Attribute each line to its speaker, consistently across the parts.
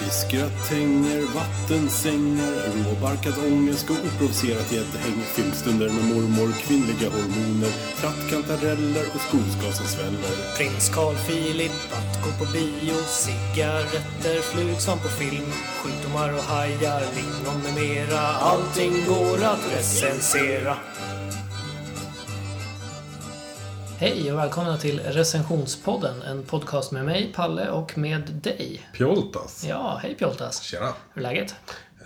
Speaker 1: I skrattänger, vattensängar, råbarkad ångest och oprovocerat gäddhäng. Filmstunder med mormor, kvinnliga hormoner, trattkantareller och skogsgas som sväller.
Speaker 2: Prins Carl Philip att gå på bio Cigaretter, flug som på film Sjukdomar och hajar, lingon med mera Allting går att recensera Hej och välkomna till Recensionspodden, en podcast med mig, Palle, och med dig.
Speaker 1: Pjoltas.
Speaker 2: Ja, hej Pjoltas.
Speaker 1: Tjena.
Speaker 2: Hur är läget?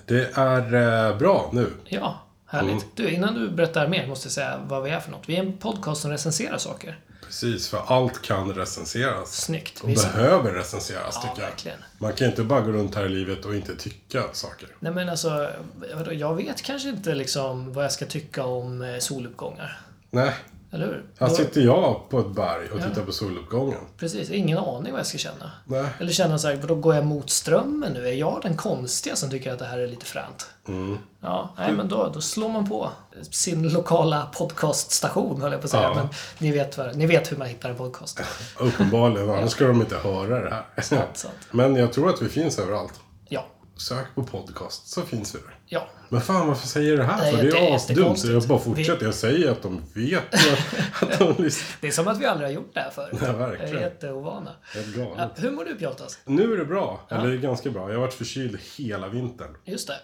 Speaker 1: Det är eh, bra nu.
Speaker 2: Ja, härligt. Du, innan du berättar mer måste jag säga vad vi är för något. Vi är en podcast som recenserar saker.
Speaker 1: Precis, för allt kan recenseras.
Speaker 2: Snyggt.
Speaker 1: Och
Speaker 2: Vi
Speaker 1: behöver recenseras,
Speaker 2: Ja,
Speaker 1: tycker jag.
Speaker 2: verkligen.
Speaker 1: Man kan inte bara gå runt här i livet och inte tycka saker.
Speaker 2: Nej men alltså, vadå, jag vet kanske inte liksom vad jag ska tycka om eh, soluppgångar.
Speaker 1: Nej,
Speaker 2: Eller hur?
Speaker 1: här
Speaker 2: Då-
Speaker 1: sitter jag på ett berg och tittar på soluppgången.
Speaker 2: Precis, ingen aning vad jag ska känna.
Speaker 1: Nej.
Speaker 2: Eller känna så här, då går jag mot strömmen nu? Är jag den konstiga som tycker att det här är lite fränt?
Speaker 1: Mm.
Speaker 2: Ja, nej men då, då slår man på sin lokala podcaststation höll jag på att säga.
Speaker 1: Ja.
Speaker 2: Men ni vet, vad, ni vet hur man hittar en podcast.
Speaker 1: Uppenbarligen, annars skulle de inte höra det här.
Speaker 2: Sant, sant.
Speaker 1: Men jag tror att vi finns överallt.
Speaker 2: Ja,
Speaker 1: Sök på podcast så finns vi där.
Speaker 2: ja.
Speaker 1: Men fan varför säger du det här?
Speaker 2: Nej,
Speaker 1: För det
Speaker 2: det
Speaker 1: är
Speaker 2: är
Speaker 1: asdumt. Så jag
Speaker 2: jättekonstigt.
Speaker 1: bara fortsätter. Jag säger att de vet att- att de lyssnar.
Speaker 2: Det är som att vi aldrig har gjort det här förut.
Speaker 1: Ja,
Speaker 2: Jag är
Speaker 1: verkligen. Mm.
Speaker 2: jätteovana.
Speaker 1: Helt galet.
Speaker 2: Ja, hur mår du Pjoltas?
Speaker 1: Nu är det bra. Eller ganska bra. Jag har varit förkyld hela vintern.
Speaker 2: Just det.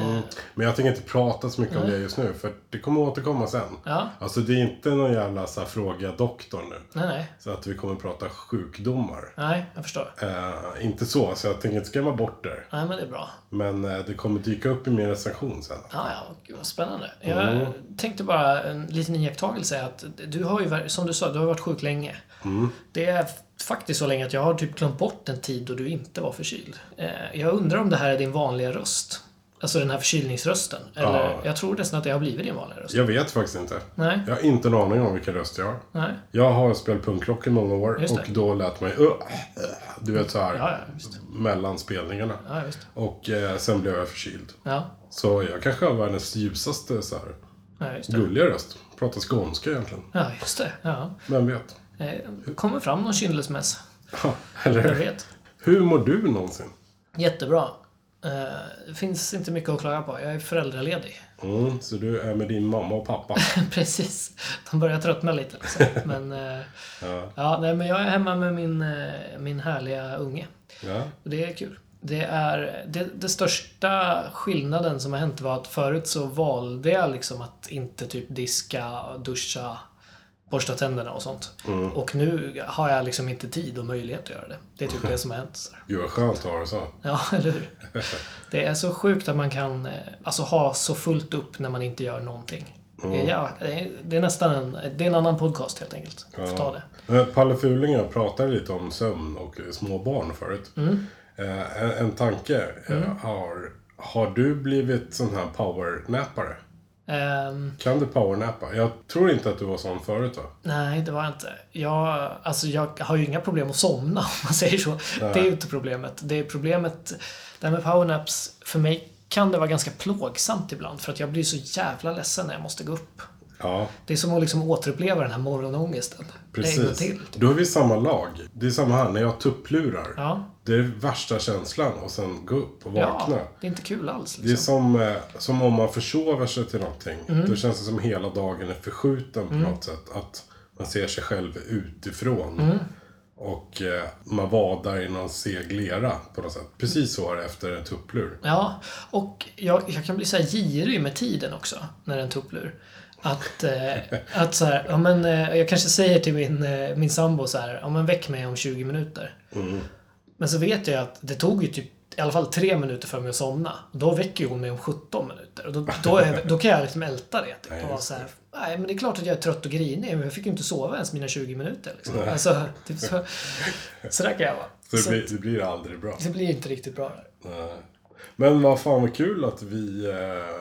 Speaker 1: Mm. Men jag tänker inte prata så mycket om det just nu. För det kommer återkomma sen.
Speaker 2: Mm. Ja.
Speaker 1: Alltså det är inte någon jävla så här, fråga doktorn nu.
Speaker 2: Nej, nej.
Speaker 1: Så att vi kommer prata sjukdomar.
Speaker 2: Nej, jag förstår.
Speaker 1: Eh, inte så, så jag tänker inte skrämma bort det.
Speaker 2: Nej, men det är bra.
Speaker 1: Men eh, det kommer dyka upp i min recension sen.
Speaker 2: Ja, ja, gud vad spännande. Jag tänkte bara en liten iakttagelse är att du har ju, ver- som du sa, du har varit sjuk länge. Det är f- faktiskt så länge att jag har typ glömt bort en tid då du inte var förkyld. Eh, Jag undrar om det här är din vanliga röst? Alltså den här förkylningsrösten? Eller,
Speaker 1: Ja.
Speaker 2: Jag tror nästan att det har blivit din vanliga röst.
Speaker 1: Jag vet faktiskt inte.
Speaker 2: Nej,
Speaker 1: Jag har inte en aning om vilken röst jag har.
Speaker 2: nej.
Speaker 1: Jag har spelat punkrock i många år
Speaker 2: Just det.
Speaker 1: och då lät man ju... "Ugh, ugh", Du vet så här,
Speaker 2: Ja, ja, visst.
Speaker 1: mellan spelningarna.
Speaker 2: Ja, visst.
Speaker 1: Och eh, sen blev jag förkyld.
Speaker 2: Ja,
Speaker 1: Så jag kanske har världens ljusaste, så här,
Speaker 2: ja just det.
Speaker 1: gulliga röst. Pratar skånska egentligen.
Speaker 2: Ja, just det. Ja.
Speaker 1: Vem vet?
Speaker 2: Eh, Kommer fram någon kyndelsmäss.
Speaker 1: Ja, Eller
Speaker 2: Jag
Speaker 1: hur?
Speaker 2: vet.
Speaker 1: Hur mår du någonsin?
Speaker 2: Jättebra. Eh, Det finns inte mycket att klaga på. Jag är föräldraledig.
Speaker 1: Mm, så du är med din mamma och pappa.
Speaker 2: Precis. De börjar tröttna lite. Liksom. Men, eh, ja. nej, men jag är hemma med min, eh, min härliga unge.
Speaker 1: Ja.
Speaker 2: Och det är kul. Det är det, det största skillnaden som har hänt var att förut så valde jag liksom att inte typ diska, duscha, borsta tänderna och sånt. Och nu har jag liksom inte tid och möjlighet att göra det. Det är typ det som har hänt. Så.
Speaker 1: Gud vad skönt att ha det så.
Speaker 2: Ja, eller hur? Det är så sjukt att man kan eh, alltså, ha så fullt upp när man inte gör någonting. Ja, det är- det är nästan en, det är en annan podcast helt enkelt. Ja. Får ta det.
Speaker 1: Eh, Palle Fuling och jag pratade lite om sömn och eh, små barn förut.
Speaker 2: Mm.
Speaker 1: Eh, en, en tanke eh, har... Har du blivit sån här powernäpare?
Speaker 2: Ehm,
Speaker 1: Kan du powernappa? Jag tror inte att du var sån förut va?
Speaker 2: nej, det var jag inte. Jag, alltså, jag har ju inga problem att somna om man säger så. Det är ju inte problemet. Det är problemet, det här med powernaps, för mig kan det vara ganska plågsamt ibland för att jag blir så jävla ledsen när jag måste gå upp.
Speaker 1: Ja,
Speaker 2: Det är som att liksom återuppleva den här morgonångesten. En gång till. typ.
Speaker 1: precis. Då är vi samma lag. Det är samma här, när jag tupplurar.
Speaker 2: Ja.
Speaker 1: Det är värsta känslan och sen gå upp och vakna.
Speaker 2: Ja, det är inte kul alls.
Speaker 1: Det är
Speaker 2: Liksom. Mhm.
Speaker 1: som, eh, som om man försover sig till någonting. Då känns det som hela dagen är förskjuten på något sätt. Att man ser sig själv utifrån.
Speaker 2: Mhm.
Speaker 1: Och eh, man vadar i någon seg lera på något sätt. Precis så är det efter en tupplur.
Speaker 2: Ja, och jag, jag kan bli så här girig med tiden också när det är en tupplur. Att, eh, att så här, ja, men, eh, jag kanske säger till min, eh, min sambo så här, ja, men väck mig om 20 minuter.
Speaker 1: Mm.
Speaker 2: Men så vet jag att det tog ju typ i alla fall tre minuter för mig att somna. Då väcker ju hon mig om 17 minuter. Och då, då, är, då kan jag liksom älta det. Typ, och vara så här, Nej, men det är klart att jag är trött och grinig, men jag fick ju inte sova ens mina 20 minuter. Liksom. Alltså, typ så, så där kan jag vara.
Speaker 1: Så det
Speaker 2: Så
Speaker 1: blir, det blir aldrig bra.
Speaker 2: det blir inte riktigt bra. där.
Speaker 1: Nej. Men vad fan vad kul att vi eh,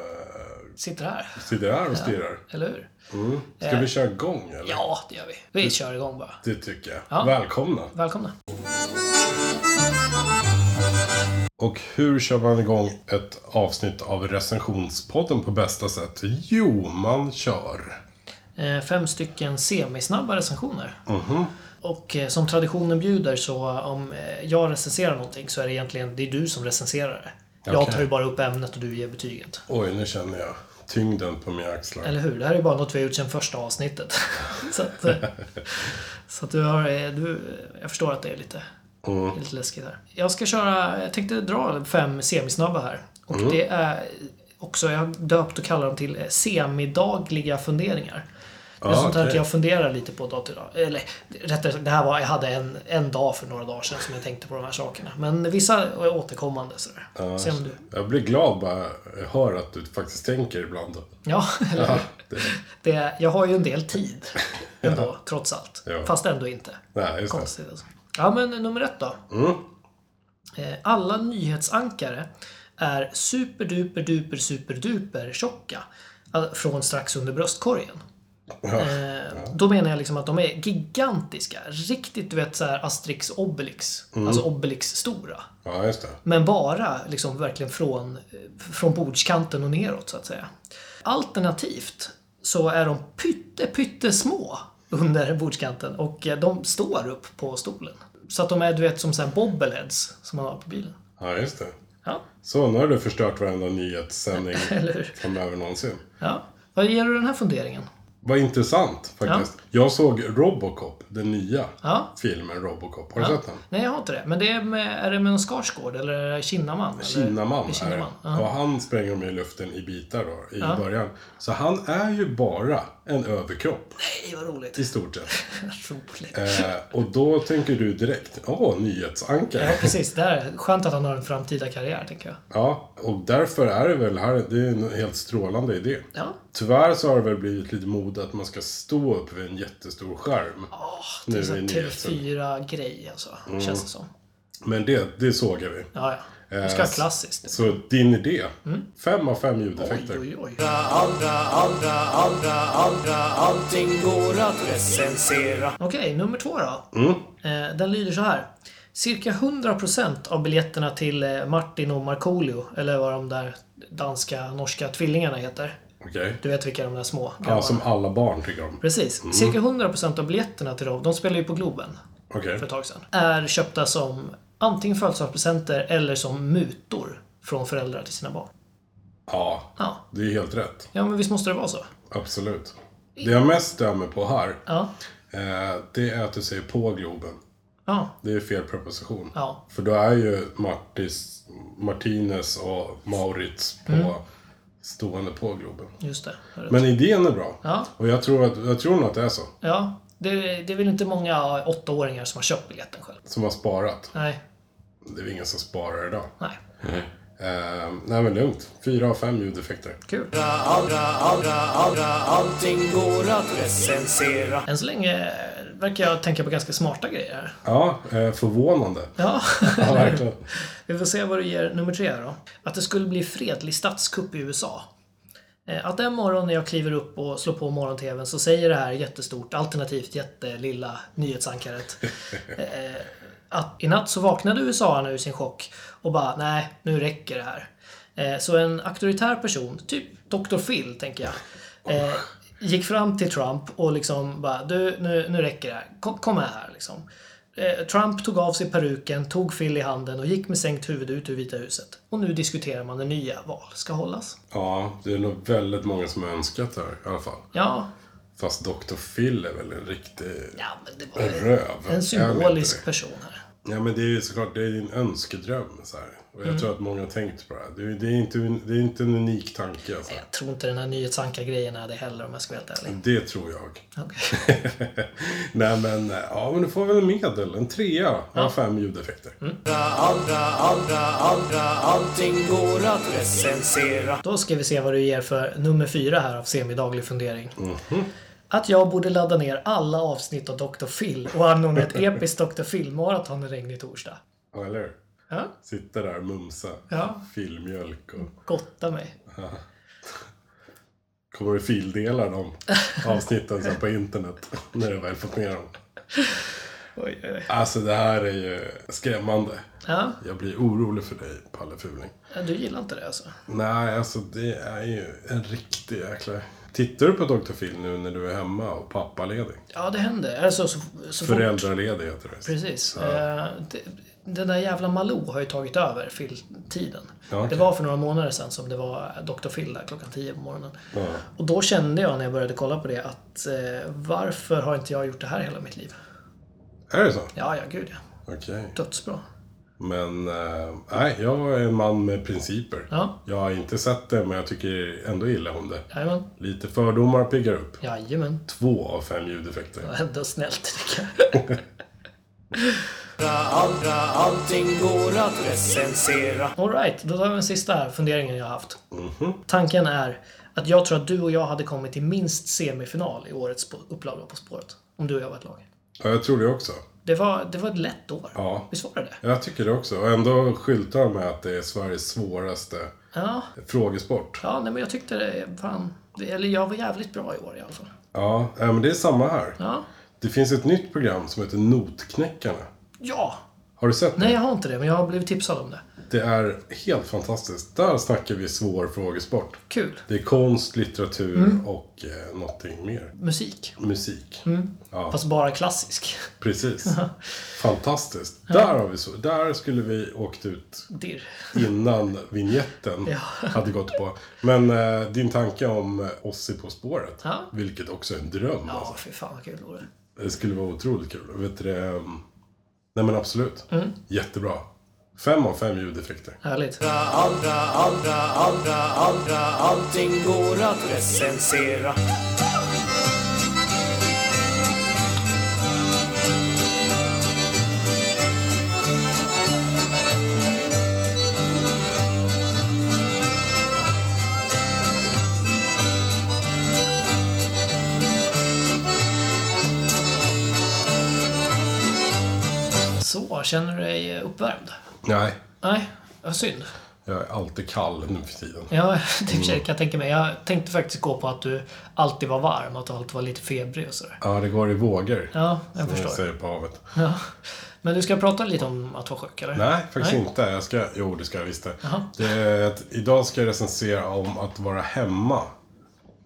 Speaker 2: Sitter här.
Speaker 1: sitter här och stirrar.
Speaker 2: Eller hur?
Speaker 1: Mm. Ska vi köra igång eller?
Speaker 2: Eh.
Speaker 1: Mm.
Speaker 2: Ja, det gör vi. Vi kör igång bara.
Speaker 1: Det tycker jag.
Speaker 2: Ja.
Speaker 1: Välkomna.
Speaker 2: Välkomna.
Speaker 1: Och hur kör man igång ett avsnitt av recensionspodden på bästa sätt? Jo, man kör. Mhm.
Speaker 2: Eh, Fem stycken semisnabba recensioner. Och eh, som traditionen bjuder så om eh, jag recenserar någonting så är det egentligen det är du som recenserar det. Jag
Speaker 1: Okej.
Speaker 2: tar ju bara upp ämnet och du ger betyget.
Speaker 1: Oj, nu känner jag tyngden på mina axlar.
Speaker 2: Eller hur? Det här är bara något vi har gjort sedan första avsnittet. så att, eh, så att du har, eh, du, jag förstår att det är lite,
Speaker 1: Mm.
Speaker 2: lite läskigt här. Jag ska köra, jag tänkte dra fem semisnabba här. Och
Speaker 1: Mm.
Speaker 2: det är också, jag har döpt och kallar dem till eh, semidagliga funderingar. Det är
Speaker 1: Ja,
Speaker 2: sånt här att
Speaker 1: Ah, okej.
Speaker 2: jag funderar lite på dag till dag. Eller rättare sagt, det här var, jag hade en, en dag för några dagar sedan som jag tänkte på de här sakerna. Men vissa är återkommande sådär.
Speaker 1: Ah.
Speaker 2: Se om du...
Speaker 1: Jag blir glad bara jag hör att du faktiskt tänker ibland.
Speaker 2: Ja, eller
Speaker 1: Ja, det,
Speaker 2: Det, jag har ju en del tid ändå, trots allt.
Speaker 1: Ja. Mm.
Speaker 2: Fast ändå inte.
Speaker 1: nej, just det.
Speaker 2: Konstigt alltså. Ja, men nummer ett då. Eh, Alla nyhetsankare är superduper duper superduper tjocka. eh, Från strax under bröstkorgen.
Speaker 1: Ja.
Speaker 2: Eh, Då menar jag liksom att de är gigantiska. Riktigt, du vet, så här Asterix Obelix.
Speaker 1: Mm.
Speaker 2: Alltså Obelix-stora.
Speaker 1: ja, just det.
Speaker 2: Men bara liksom verkligen från, eh, från bordskanten och neråt så att säga. Alternativt så är de pytte, pyttesmå under bordskanten och eh, de står upp på stolen. Så att de är du vet som sån här bobbleheads som man har på bilen.
Speaker 1: Ja, just det.
Speaker 2: Ja,
Speaker 1: Så, nu har du förstört varenda nyhetssändning
Speaker 2: eller hur?
Speaker 1: framöver någonsin.
Speaker 2: Ja. Vad ger du den här funderingen?
Speaker 1: Vad intressant faktiskt. Jag såg Robocop, den nya
Speaker 2: Ja.
Speaker 1: filmen Robocop. Har du sett den?
Speaker 2: Nej, jag har inte det. Men det är, med, är det med en Skarsgård eller är det Kinnaman? eller?
Speaker 1: Kinaman
Speaker 2: Det
Speaker 1: är
Speaker 2: är
Speaker 1: det.
Speaker 2: Kinnaman. Ja.
Speaker 1: Och han spränger dem i luften i bitar då, i början. Så han är ju bara en överkropp,
Speaker 2: Nej, vad roligt.
Speaker 1: i stort sett.
Speaker 2: roligt.
Speaker 1: Eh, och då tänker du direkt, åh,
Speaker 2: Ja,
Speaker 1: nyhetsankare.
Speaker 2: precis. Det är skönt att han har en framtida karriär, tänker jag.
Speaker 1: Ja, och därför är det väl här, det är en helt strålande idé.
Speaker 2: Ja,
Speaker 1: Tyvärr så har det väl blivit lite mode att man ska stå upp vid en jättestor skärm.
Speaker 2: Åh,
Speaker 1: Nu
Speaker 2: det är sån
Speaker 1: är
Speaker 2: här
Speaker 1: det nyhetsen.
Speaker 2: TV4-grej alltså,
Speaker 1: Mm.
Speaker 2: känns det som.
Speaker 1: Men det, det såg vi.
Speaker 2: Ja, ja. Det ska vara klassiskt.
Speaker 1: Eh, Så din idé, fem av fem
Speaker 2: Mm. Oj,
Speaker 1: ljudeffekter.
Speaker 2: oj, oj.
Speaker 3: Allra, allra, allra, allra, allting går att recensera.
Speaker 2: Okej, nummer två då.
Speaker 1: Mm.
Speaker 2: Eh, Den lyder så här. Cirka 100% av biljetterna till eh, Martin och Markoolio, eller vad de där danska, norska tvillingarna heter.
Speaker 1: Okej.
Speaker 2: Du vet vilka de där små
Speaker 1: Ja, Mm.
Speaker 2: grabbarna.
Speaker 1: som alla barn tycker om.
Speaker 2: Precis. Cirka 100% av biljetterna till dem, de spelar ju på Globen
Speaker 1: Okej.
Speaker 2: för ett tag sedan, är köpta som antingen födelsedagspresenter eller som mutor från föräldrar till sina barn.
Speaker 1: Ja,
Speaker 2: Ja,
Speaker 1: det är helt rätt.
Speaker 2: Ja, men visst måste det vara så?
Speaker 1: Absolut. Det jag mest stämmer på här,
Speaker 2: Ja.
Speaker 1: eh, det är att du säger på Globen.
Speaker 2: Ja.
Speaker 1: Det är fel preposition.
Speaker 2: Ja.
Speaker 1: För då är ju Martis, Martinez och Maurits på
Speaker 2: Mm.
Speaker 1: stående på Globen.
Speaker 2: Just det. Hör du.
Speaker 1: Men idén är bra.
Speaker 2: Ja.
Speaker 1: Och jag tror, att, jag tror nog att det är så.
Speaker 2: Ja. Det, det är väl inte många åttaåringar som har köpt biljetten själv?
Speaker 1: Som har sparat.
Speaker 2: Nej.
Speaker 1: Det är väl ingen som sparar idag.
Speaker 2: Nej.
Speaker 1: Eh, nej men lugnt. Fyra av fem ljudeffekter.
Speaker 2: Kul.
Speaker 3: Allra, allra, allra, allting går att recensera.
Speaker 2: Än så länge verkar jag tänka på ganska smarta grejer här.
Speaker 1: Ja, eh, förvånande.
Speaker 2: Ja.
Speaker 1: Ja, verkligen.
Speaker 2: Vi får se vad du ger nummer tre då. Att det skulle bli fredlig statskupp i USA. Eh, Att en morgon när jag kliver upp och slår på morgon-tvn så säger det här jättestort, alternativt jättelilla nyhetsankaret eh, att i natt så vaknade USA ur sin chock och bara nej, nu räcker det här. Eh, Så en auktoritär person, typ Dr. Phil tänker jag, eh, gick fram till Trump och liksom bara du, nu, nu räcker det här. Kom, kom med här liksom. Eh, Trump tog av sig peruken, tog Phil i handen och gick med sänkt huvud ut ur Vita huset. Och nu diskuterar man när nya val ska hållas.
Speaker 1: Ja, det är nog väldigt många som har önskat det här i alla fall.
Speaker 2: Ja,
Speaker 1: Fast Dr. Phil är väl en riktig
Speaker 2: ja men det var ju
Speaker 1: röv.
Speaker 2: en
Speaker 1: Är han inte
Speaker 2: symbolisk
Speaker 1: det?
Speaker 2: person här.
Speaker 1: Ja, men det är ju såklart, det är ju en önskedröm så här. Och jag tror att många har tänkt på det här. Det är, det är, inte, det är inte en unik tanke alltså.
Speaker 2: Jag tror inte den här nyhetsankargrejen är det heller om jag ska vara helt ärlig.
Speaker 1: Det tror jag.
Speaker 2: Okej.
Speaker 1: Nej men, eh, ja men du får väl en medel. En trea av fem ljudeffekter.
Speaker 3: Allra, allra, allra, allting går att recensera.
Speaker 2: Då ska vi se vad du ger för nummer fyra här av semidaglig fundering.
Speaker 1: Mhm.
Speaker 2: Att jag borde ladda ner alla avsnitt av Dr. Phil och anordna ett episkt Dr. Phil-maraton en regnig torsdag.
Speaker 1: Ja, eller hur?
Speaker 2: Ja,
Speaker 1: Sitta där och mumsa.
Speaker 2: Ja.
Speaker 1: Filmjölk och...
Speaker 2: gotta mig.
Speaker 1: Kommer du fildela de avsnitten sen på internet när du väl fått med dem?
Speaker 2: Oj, oj, oj.
Speaker 1: Alltså det här är ju skrämmande.
Speaker 2: Ja,
Speaker 1: Jag blir orolig för dig, Palle Fuling.
Speaker 2: du gillar inte det alltså?
Speaker 1: Nej, alltså det är ju en riktig jäkla Tittar du på Dr. Phil nu när du är hemma och pappaledig?
Speaker 2: Ja, det händer. Alltså, så, så fort-
Speaker 1: Föräldraledig heter det.
Speaker 2: Precis.
Speaker 1: Ja.
Speaker 2: Eh, det- Den där jävla Malou har ju tagit över Phil-tiden.
Speaker 1: Ja, okej.
Speaker 2: Det var för några månader sedan som det var Dr. Phil där klockan 10 på morgonen.
Speaker 1: Ja.
Speaker 2: Och då kände jag när jag började kolla på det att eh, varför har inte jag gjort det här hela mitt liv?
Speaker 1: Är det så?
Speaker 2: Ja, ja, gud ja.
Speaker 1: Okej.
Speaker 2: Dödsbra.
Speaker 1: Men eh, nej, jag är en man med principer.
Speaker 2: Ja,
Speaker 1: Jag har inte sett det, men jag tycker ändå illa om det.
Speaker 2: jajamän.
Speaker 1: Lite fördomar piggar upp.
Speaker 2: Jajamän.
Speaker 1: Två av fem ljudeffekter.
Speaker 2: Ändå snällt tycker jag.
Speaker 3: Allra, allting går att recensera. Mhm.
Speaker 2: Alright, då tar vi den sista här funderingen jag har haft. Tanken är att jag tror att du och jag hade kommit till minst semifinal i årets på- upplaga På spåret. Om du och jag var ett lag.
Speaker 1: Ja, jag tror det också.
Speaker 2: Det var, det var ett lätt år.
Speaker 1: Ja.
Speaker 2: Visst var det det?
Speaker 1: Jag tycker det också. Och ändå skyltar de med att det är Sveriges svåraste
Speaker 2: Ja.
Speaker 1: frågesport.
Speaker 2: Ja, nej, men jag tyckte det. Fan. Det, eller jag var jävligt bra i år i alla fall.
Speaker 1: Ja, eh, men det är samma här.
Speaker 2: Ja.
Speaker 1: Det finns ett nytt program som heter Notknäckarna.
Speaker 2: Ja!
Speaker 1: Har du sett det?
Speaker 2: Nej, jag har inte det, men jag har blivit tipsad om det.
Speaker 1: Det är helt fantastiskt. Där snackar vi svår frågesport.
Speaker 2: Kul.
Speaker 1: Det är konst, litteratur
Speaker 2: Mm.
Speaker 1: och eh, någonting mer.
Speaker 2: Musik.
Speaker 1: Musik.
Speaker 2: Mm.
Speaker 1: Ja,
Speaker 2: Fast bara klassisk.
Speaker 1: precis. Fantastiskt. Där, har vi så. Där skulle vi åkt ut
Speaker 2: Dirr.
Speaker 1: innan vignetten hade gått på. Men eh, din tanke om eh, Ossi På spåret,
Speaker 2: Ja.
Speaker 1: vilket också är en dröm.
Speaker 2: Ja,
Speaker 1: Alltså.
Speaker 2: fy fan vad kul det vore.
Speaker 1: Det skulle vara otroligt kul. Vet du, det, ehm, nej men absolut.
Speaker 2: Mm.
Speaker 1: Jättebra. Fem av fem ljudeffekter.
Speaker 2: Härligt.
Speaker 3: Allra, allra, allra, allra, allting går att recensera.
Speaker 2: Så, känner du dig uppvärmd?
Speaker 1: Nej,
Speaker 2: Nej, vad synd.
Speaker 1: jag är alltid kall nu för tiden.
Speaker 2: Ja, det i och för sig
Speaker 1: Mm.
Speaker 2: kan jag tänka mig. Jag tänkte faktiskt gå på att du alltid var varm och att du alltid var lite febrig och sådär.
Speaker 1: Ja, det går i vågor.
Speaker 2: Ja, jag
Speaker 1: som jag
Speaker 2: förstår.
Speaker 1: säger på havet.
Speaker 2: Ja. Men du ska prata lite om att vara sjuk, eller?
Speaker 1: Nej, faktiskt
Speaker 2: Nej.
Speaker 1: inte. Jag ska, jo, det ska jag visst det.
Speaker 2: Jaha.
Speaker 1: det är att, idag ska jag recensera om att vara hemma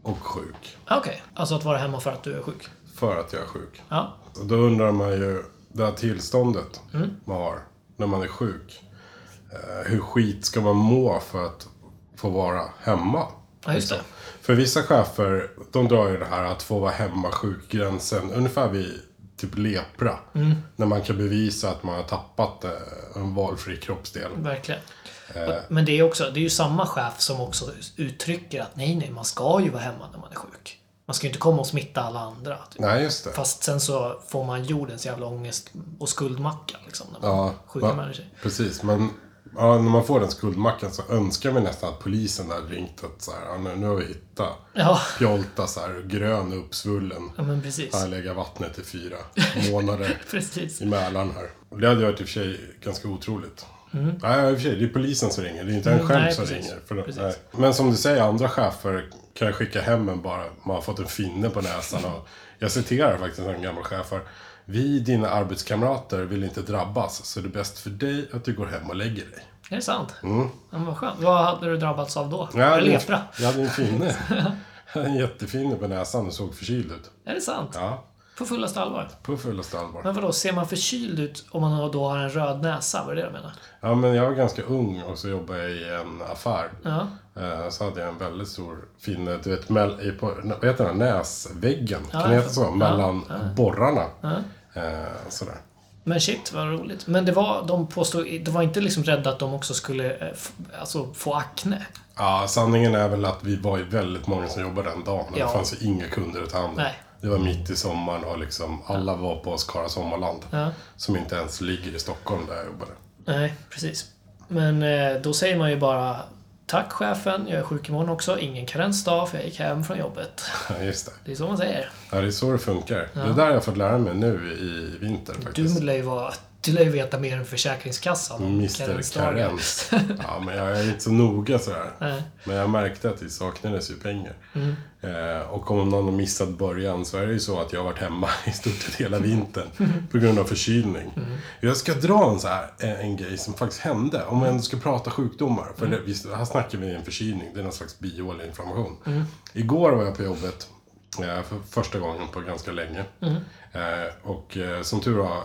Speaker 1: och sjuk.
Speaker 2: Ja, Okej, alltså att vara hemma för att du är sjuk.
Speaker 1: För att jag är sjuk.
Speaker 2: Ja,
Speaker 1: Och då undrar man ju, det här tillståndet
Speaker 2: Mm.
Speaker 1: man har när man är sjuk. Eh, hur skit ska man må för att få vara hemma?
Speaker 2: ja just det.
Speaker 1: För vissa chefer, de drar ju det här att få vara hemma sjukgränsen ungefär vid typ lepra.
Speaker 2: Mm.
Speaker 1: När man kan bevisa att man har tappat eh, en valfri kroppsdel.
Speaker 2: Verkligen.
Speaker 1: Eh.
Speaker 2: Men det är, också, det är ju samma chef som också uttrycker att nej, nej, man ska ju vara hemma när man är sjuk. Man ska ju inte komma och smitta alla andra. Typ.
Speaker 1: Nej, just det.
Speaker 2: Fast sen så får man jordens jävla ångest och skuldmacka liksom, när man
Speaker 1: Ja, va-
Speaker 2: sjukanmäler sig.
Speaker 1: Precis, men ja, när man får den skuldmackan så önskar vi nästan att polisen hade ringt att så här, ja, nu, nu har vi hittat
Speaker 2: Ja,
Speaker 1: Pjolta så här, grön och uppsvullen.
Speaker 2: ja men precis.
Speaker 1: Han lägger vattnet i fyra månader
Speaker 2: Precis.
Speaker 1: i Mälaren här. Och det hade varit i och för sig ganska otroligt. Nej, i och för sig, det är polisen som ringer. Det är inte en
Speaker 2: Mm,
Speaker 1: själv
Speaker 2: nej,
Speaker 1: som
Speaker 2: precis.
Speaker 1: ringer. För,
Speaker 2: Precis.
Speaker 1: nej. Men som du säger, andra chefer kan jag skicka hem en bara man har fått en finne på näsan. Och jag citerar faktiskt en gammal chef här. Vi, dina arbetskamrater, vill inte drabbas, så det är bäst för dig att du går hem och lägger dig.
Speaker 2: Är det sant? Mm. Ja, men vad skönt. Vad hade du drabbats av då? Ja,
Speaker 1: hade en-
Speaker 2: Lepra?
Speaker 1: jag hade en finne. Jag hade en jättefinne på näsan och såg förkyld ut.
Speaker 2: Är det sant?
Speaker 1: Ja,
Speaker 2: På fullaste allvar?
Speaker 1: på fullaste allvar.
Speaker 2: Men vadå, ser man förkyld ut om man då har en röd näsa? Var det det du menade?
Speaker 1: Ja, men jag var ganska ung och så jobbade jag i en affär.
Speaker 2: Ja.
Speaker 1: Eh, Så hade jag en väldigt stor finne, du vet, mell- i på, vad heter den, näsväggen? kan det
Speaker 2: jag
Speaker 1: heta
Speaker 2: tror-
Speaker 1: så? Mellan borrarna. Eh, Sådär.
Speaker 2: Men shit vad roligt. Men det var, de påstod, de var inte liksom rädda att de också skulle eh, f- alltså, få akne?
Speaker 1: Ja, sanningen är väl att vi var ju väldigt många som jobbade den dagen.
Speaker 2: Ja.
Speaker 1: Det fanns ju inga kunder att ta hand om.
Speaker 2: Nej.
Speaker 1: Det var mitt i sommaren och liksom alla var på Skara Sommarland.
Speaker 2: Ja.
Speaker 1: Som inte ens ligger i Stockholm där jag jobbade.
Speaker 2: Nej, precis. Men eh, då säger man ju bara Tack chefen, jag är sjuk imorgon också. Ingen karensdag för jag gick hem från jobbet.
Speaker 1: Ja, Just det.
Speaker 2: Det är så man säger.
Speaker 1: Ja, det är så det funkar. Det där har jag fått lära mig nu i vinter faktiskt.
Speaker 2: Du lär ju vara Du lär ju veta mer än Försäkringskassan om
Speaker 1: Mr
Speaker 2: karensdagar.
Speaker 1: Karens. Ja, men jag är inte så noga sådär.
Speaker 2: Nej.
Speaker 1: Men jag märkte att det saknades ju pengar. Eh, och om någon har missat början så är det ju så att jag har varit hemma i stort sett hela vintern på grund av förkylning. Jag ska dra en, så här, eh, en grej som faktiskt hände, om jag ändå ska prata sjukdomar. För det, visst, här snackar vi en förkylning, det är någon slags bihålig inflammation. Igår var jag på jobbet eh, för första gången på ganska länge. Eh, och eh, som tur var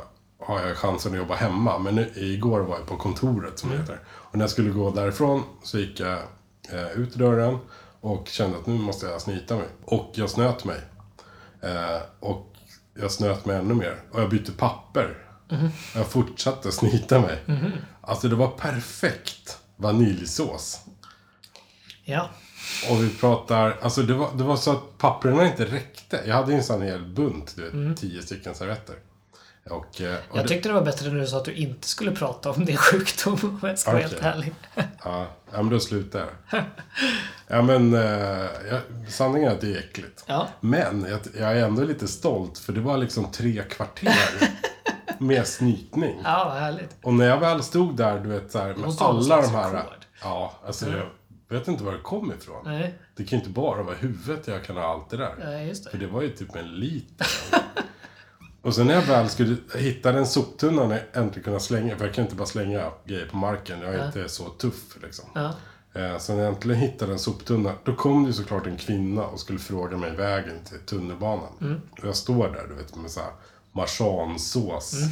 Speaker 1: har jag chansen att jobba hemma. Men nu, igår var jag på kontoret som det heter. Och när jag skulle gå därifrån så gick jag eh, ut dörren och kände att nu måste jag snyta mig. Och jag snöt mig. Eh, och jag snöt mig ännu mer. Och jag bytte papper. Och jag fortsatte snyta mig. Alltså det var perfekt vaniljsås.
Speaker 2: Ja.
Speaker 1: Och vi pratar, alltså det var, det var så att papperna inte räckte. Jag hade ju en sån hel bunt, du vet, tio stycken servetter. Och, eh, och
Speaker 2: Mm. Jag
Speaker 1: det-
Speaker 2: tyckte det var bättre när du sa att du inte skulle prata om din sjukdom om jag ska vara
Speaker 1: Okej.
Speaker 2: helt ärlig.
Speaker 1: Ja, ja men då slutar jag. Ja, men eh, ja, sanningen är att det är äckligt.
Speaker 2: Ja.
Speaker 1: Men jag, jag är ändå lite stolt, för det var liksom tre kvarter med snytning.
Speaker 2: Ja, vad härligt.
Speaker 1: Och när jag väl stod där, du vet, så här, med
Speaker 2: måste vara någon
Speaker 1: alla de
Speaker 2: slags
Speaker 1: här...
Speaker 2: rekord. Mm.
Speaker 1: Ja, alltså jag vet inte var det kom ifrån.
Speaker 2: Nej,
Speaker 1: Det kan ju inte bara vara huvudet jag kan ha allt det där.
Speaker 2: nej just
Speaker 1: För
Speaker 2: det.
Speaker 1: det var ju typ en liter. Och sen när jag väl skulle hitta den soptunnan jag äntligen kunna slänga, för jag kan inte bara slänga grejer på marken, jag är inte så tuff liksom.
Speaker 2: Ja.
Speaker 1: Eh, Sen när jag äntligen hittade en soptunna, då kom det ju såklart en kvinna och skulle fråga mig vägen till tunnelbanan.
Speaker 2: Mm.
Speaker 1: Och jag står där, du vet, med så här marsansås.
Speaker 2: Mm.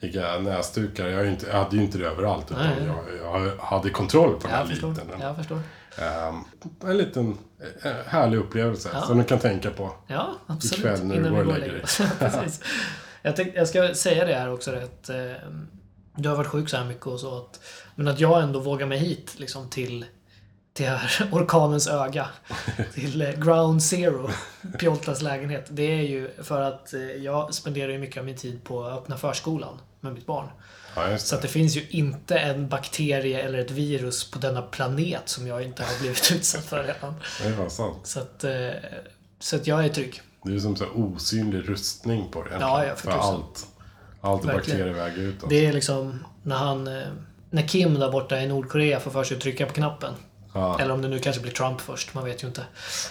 Speaker 1: Vilka näsdukar. Jag, är ju inte, jag hade ju inte det överallt, utan
Speaker 2: Nej.
Speaker 1: jag, jag hade kontroll på den här
Speaker 2: Jag förstår.
Speaker 1: liten.
Speaker 2: Jag förstår.
Speaker 1: Ehm, en liten eh, härlig upplevelse
Speaker 2: Ja.
Speaker 1: som du kan tänka på.
Speaker 2: Ja, absolut.
Speaker 1: Ikväll när du går och lägger dig.
Speaker 2: oss. Precis. jag, tänkte, jag ska säga det här också, att eh, du har varit sjuk så här mycket och så. Att, men att jag ändå vågar mig hit liksom, till, till här, orkanens öga. Till eh, ground zero, Pjoltas lägenhet. Det är ju för att eh, jag spenderar ju mycket av min tid på att öppna förskolan med mitt barn.
Speaker 1: Ja, just
Speaker 2: Så att det finns ju inte en bakterie eller ett virus på denna planet som jag inte har blivit utsatt för redan.
Speaker 1: det. Det var sant.
Speaker 2: Så att, eh, så att jag är trygg.
Speaker 1: Det är som så här osynlig rustning på det. egentligen.
Speaker 2: Ja, ja, för
Speaker 1: för
Speaker 2: tusan.
Speaker 1: allt. Allt
Speaker 2: Verkligen.
Speaker 1: bakterier väger ut. alltså.
Speaker 2: Det är liksom när han... eh, När Kim där borta i Nordkorea får för sig att trycka på knappen.
Speaker 1: Ja.
Speaker 2: Eller om det nu kanske blir Trump först, man vet ju inte.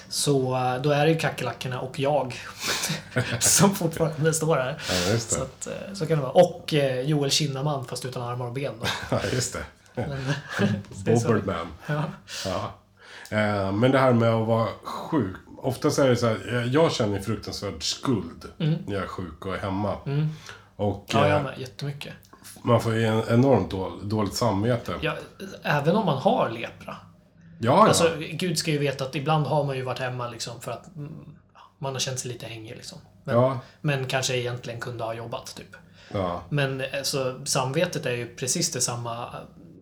Speaker 2: Så eh, då är det ju kackerlackorna och jag som fortfarande står här.
Speaker 1: Ja, just det.
Speaker 2: Så, att, eh, så kan det vara. Och eh, Joel Kinnaman fast utan armar och ben då.
Speaker 1: Ja, just det. Mm.
Speaker 2: det är så.
Speaker 1: Bobberman.
Speaker 2: Ja.
Speaker 1: Ja. Eh, Men det här med att vara sjuk. Oftast är det så här, eh, jag känner fruktansvärd skuld när jag är sjuk och är hemma. Och
Speaker 2: Mm. Ja,
Speaker 1: eh,
Speaker 2: jag med. Jättemycket.
Speaker 1: man får ju en enormt då- dåligt samvete. Ja,
Speaker 2: Ja, även om man har lepra.
Speaker 1: ja.
Speaker 2: Alltså, Gud ska ju veta att ibland har man ju varit hemma liksom för att mm, ja, man har känt sig lite hängig liksom. Men,
Speaker 1: Ja.
Speaker 2: men kanske egentligen kunde ha jobbat typ.
Speaker 1: ja.
Speaker 2: Men alltså, samvetet är ju precis detsamma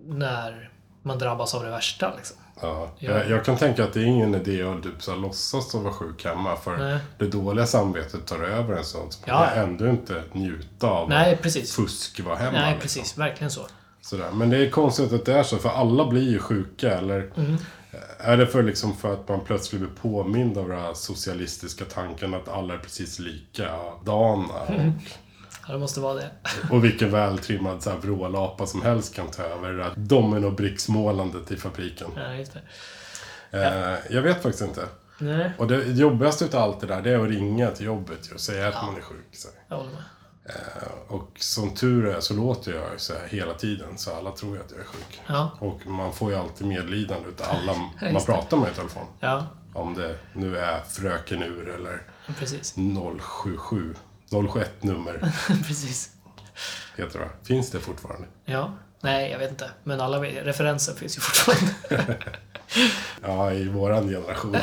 Speaker 2: när man drabbas av det värsta. Liksom.
Speaker 1: Ja. Jag, jag kan tänka att det är ingen idé att typ så här låtsas att vara sjuk hemma. För
Speaker 2: Nej.
Speaker 1: det dåliga samvetet tar över en sån. Så man
Speaker 2: Ja.
Speaker 1: kan ändå inte njuta av
Speaker 2: Nej, precis.
Speaker 1: fusk var hemma.
Speaker 2: Nej,
Speaker 1: liksom.
Speaker 2: precis. Verkligen så.
Speaker 1: Sådär. Men det är konstigt att det är så, för alla blir ju sjuka. Eller
Speaker 2: Mm.
Speaker 1: är det för, liksom för att man plötsligt blir påmind av den här socialistiska tanken att alla är precis likadana?
Speaker 2: Mm. Ja, det måste vara det.
Speaker 1: Och vilken vältrimmad så här, vrålapa som helst kan ta över det där dominobricksmålandet i fabriken.
Speaker 2: Nej, just det.
Speaker 1: Eh, jag vet faktiskt inte.
Speaker 2: Nej,
Speaker 1: Och det jobbigaste utav allt det där, det är att ringa till jobbet ju och säga att man är sjuk. Så. här.
Speaker 2: jag håller med.
Speaker 1: Och som tur är så låter jag så här hela tiden, så alla tror ju att jag är sjuk.
Speaker 2: Ja,
Speaker 1: Och man får ju alltid medlidande utav alla man
Speaker 2: Just det.
Speaker 1: pratar med i telefon.
Speaker 2: ja
Speaker 1: Om det nu är Fröken Ur eller
Speaker 2: precis.
Speaker 1: 077. 071 nummer
Speaker 2: precis.
Speaker 1: heter det. Finns det fortfarande?
Speaker 2: Ja. Nej, jag vet inte. Men alla referenser finns ju fortfarande.
Speaker 1: Ja, i våran generation.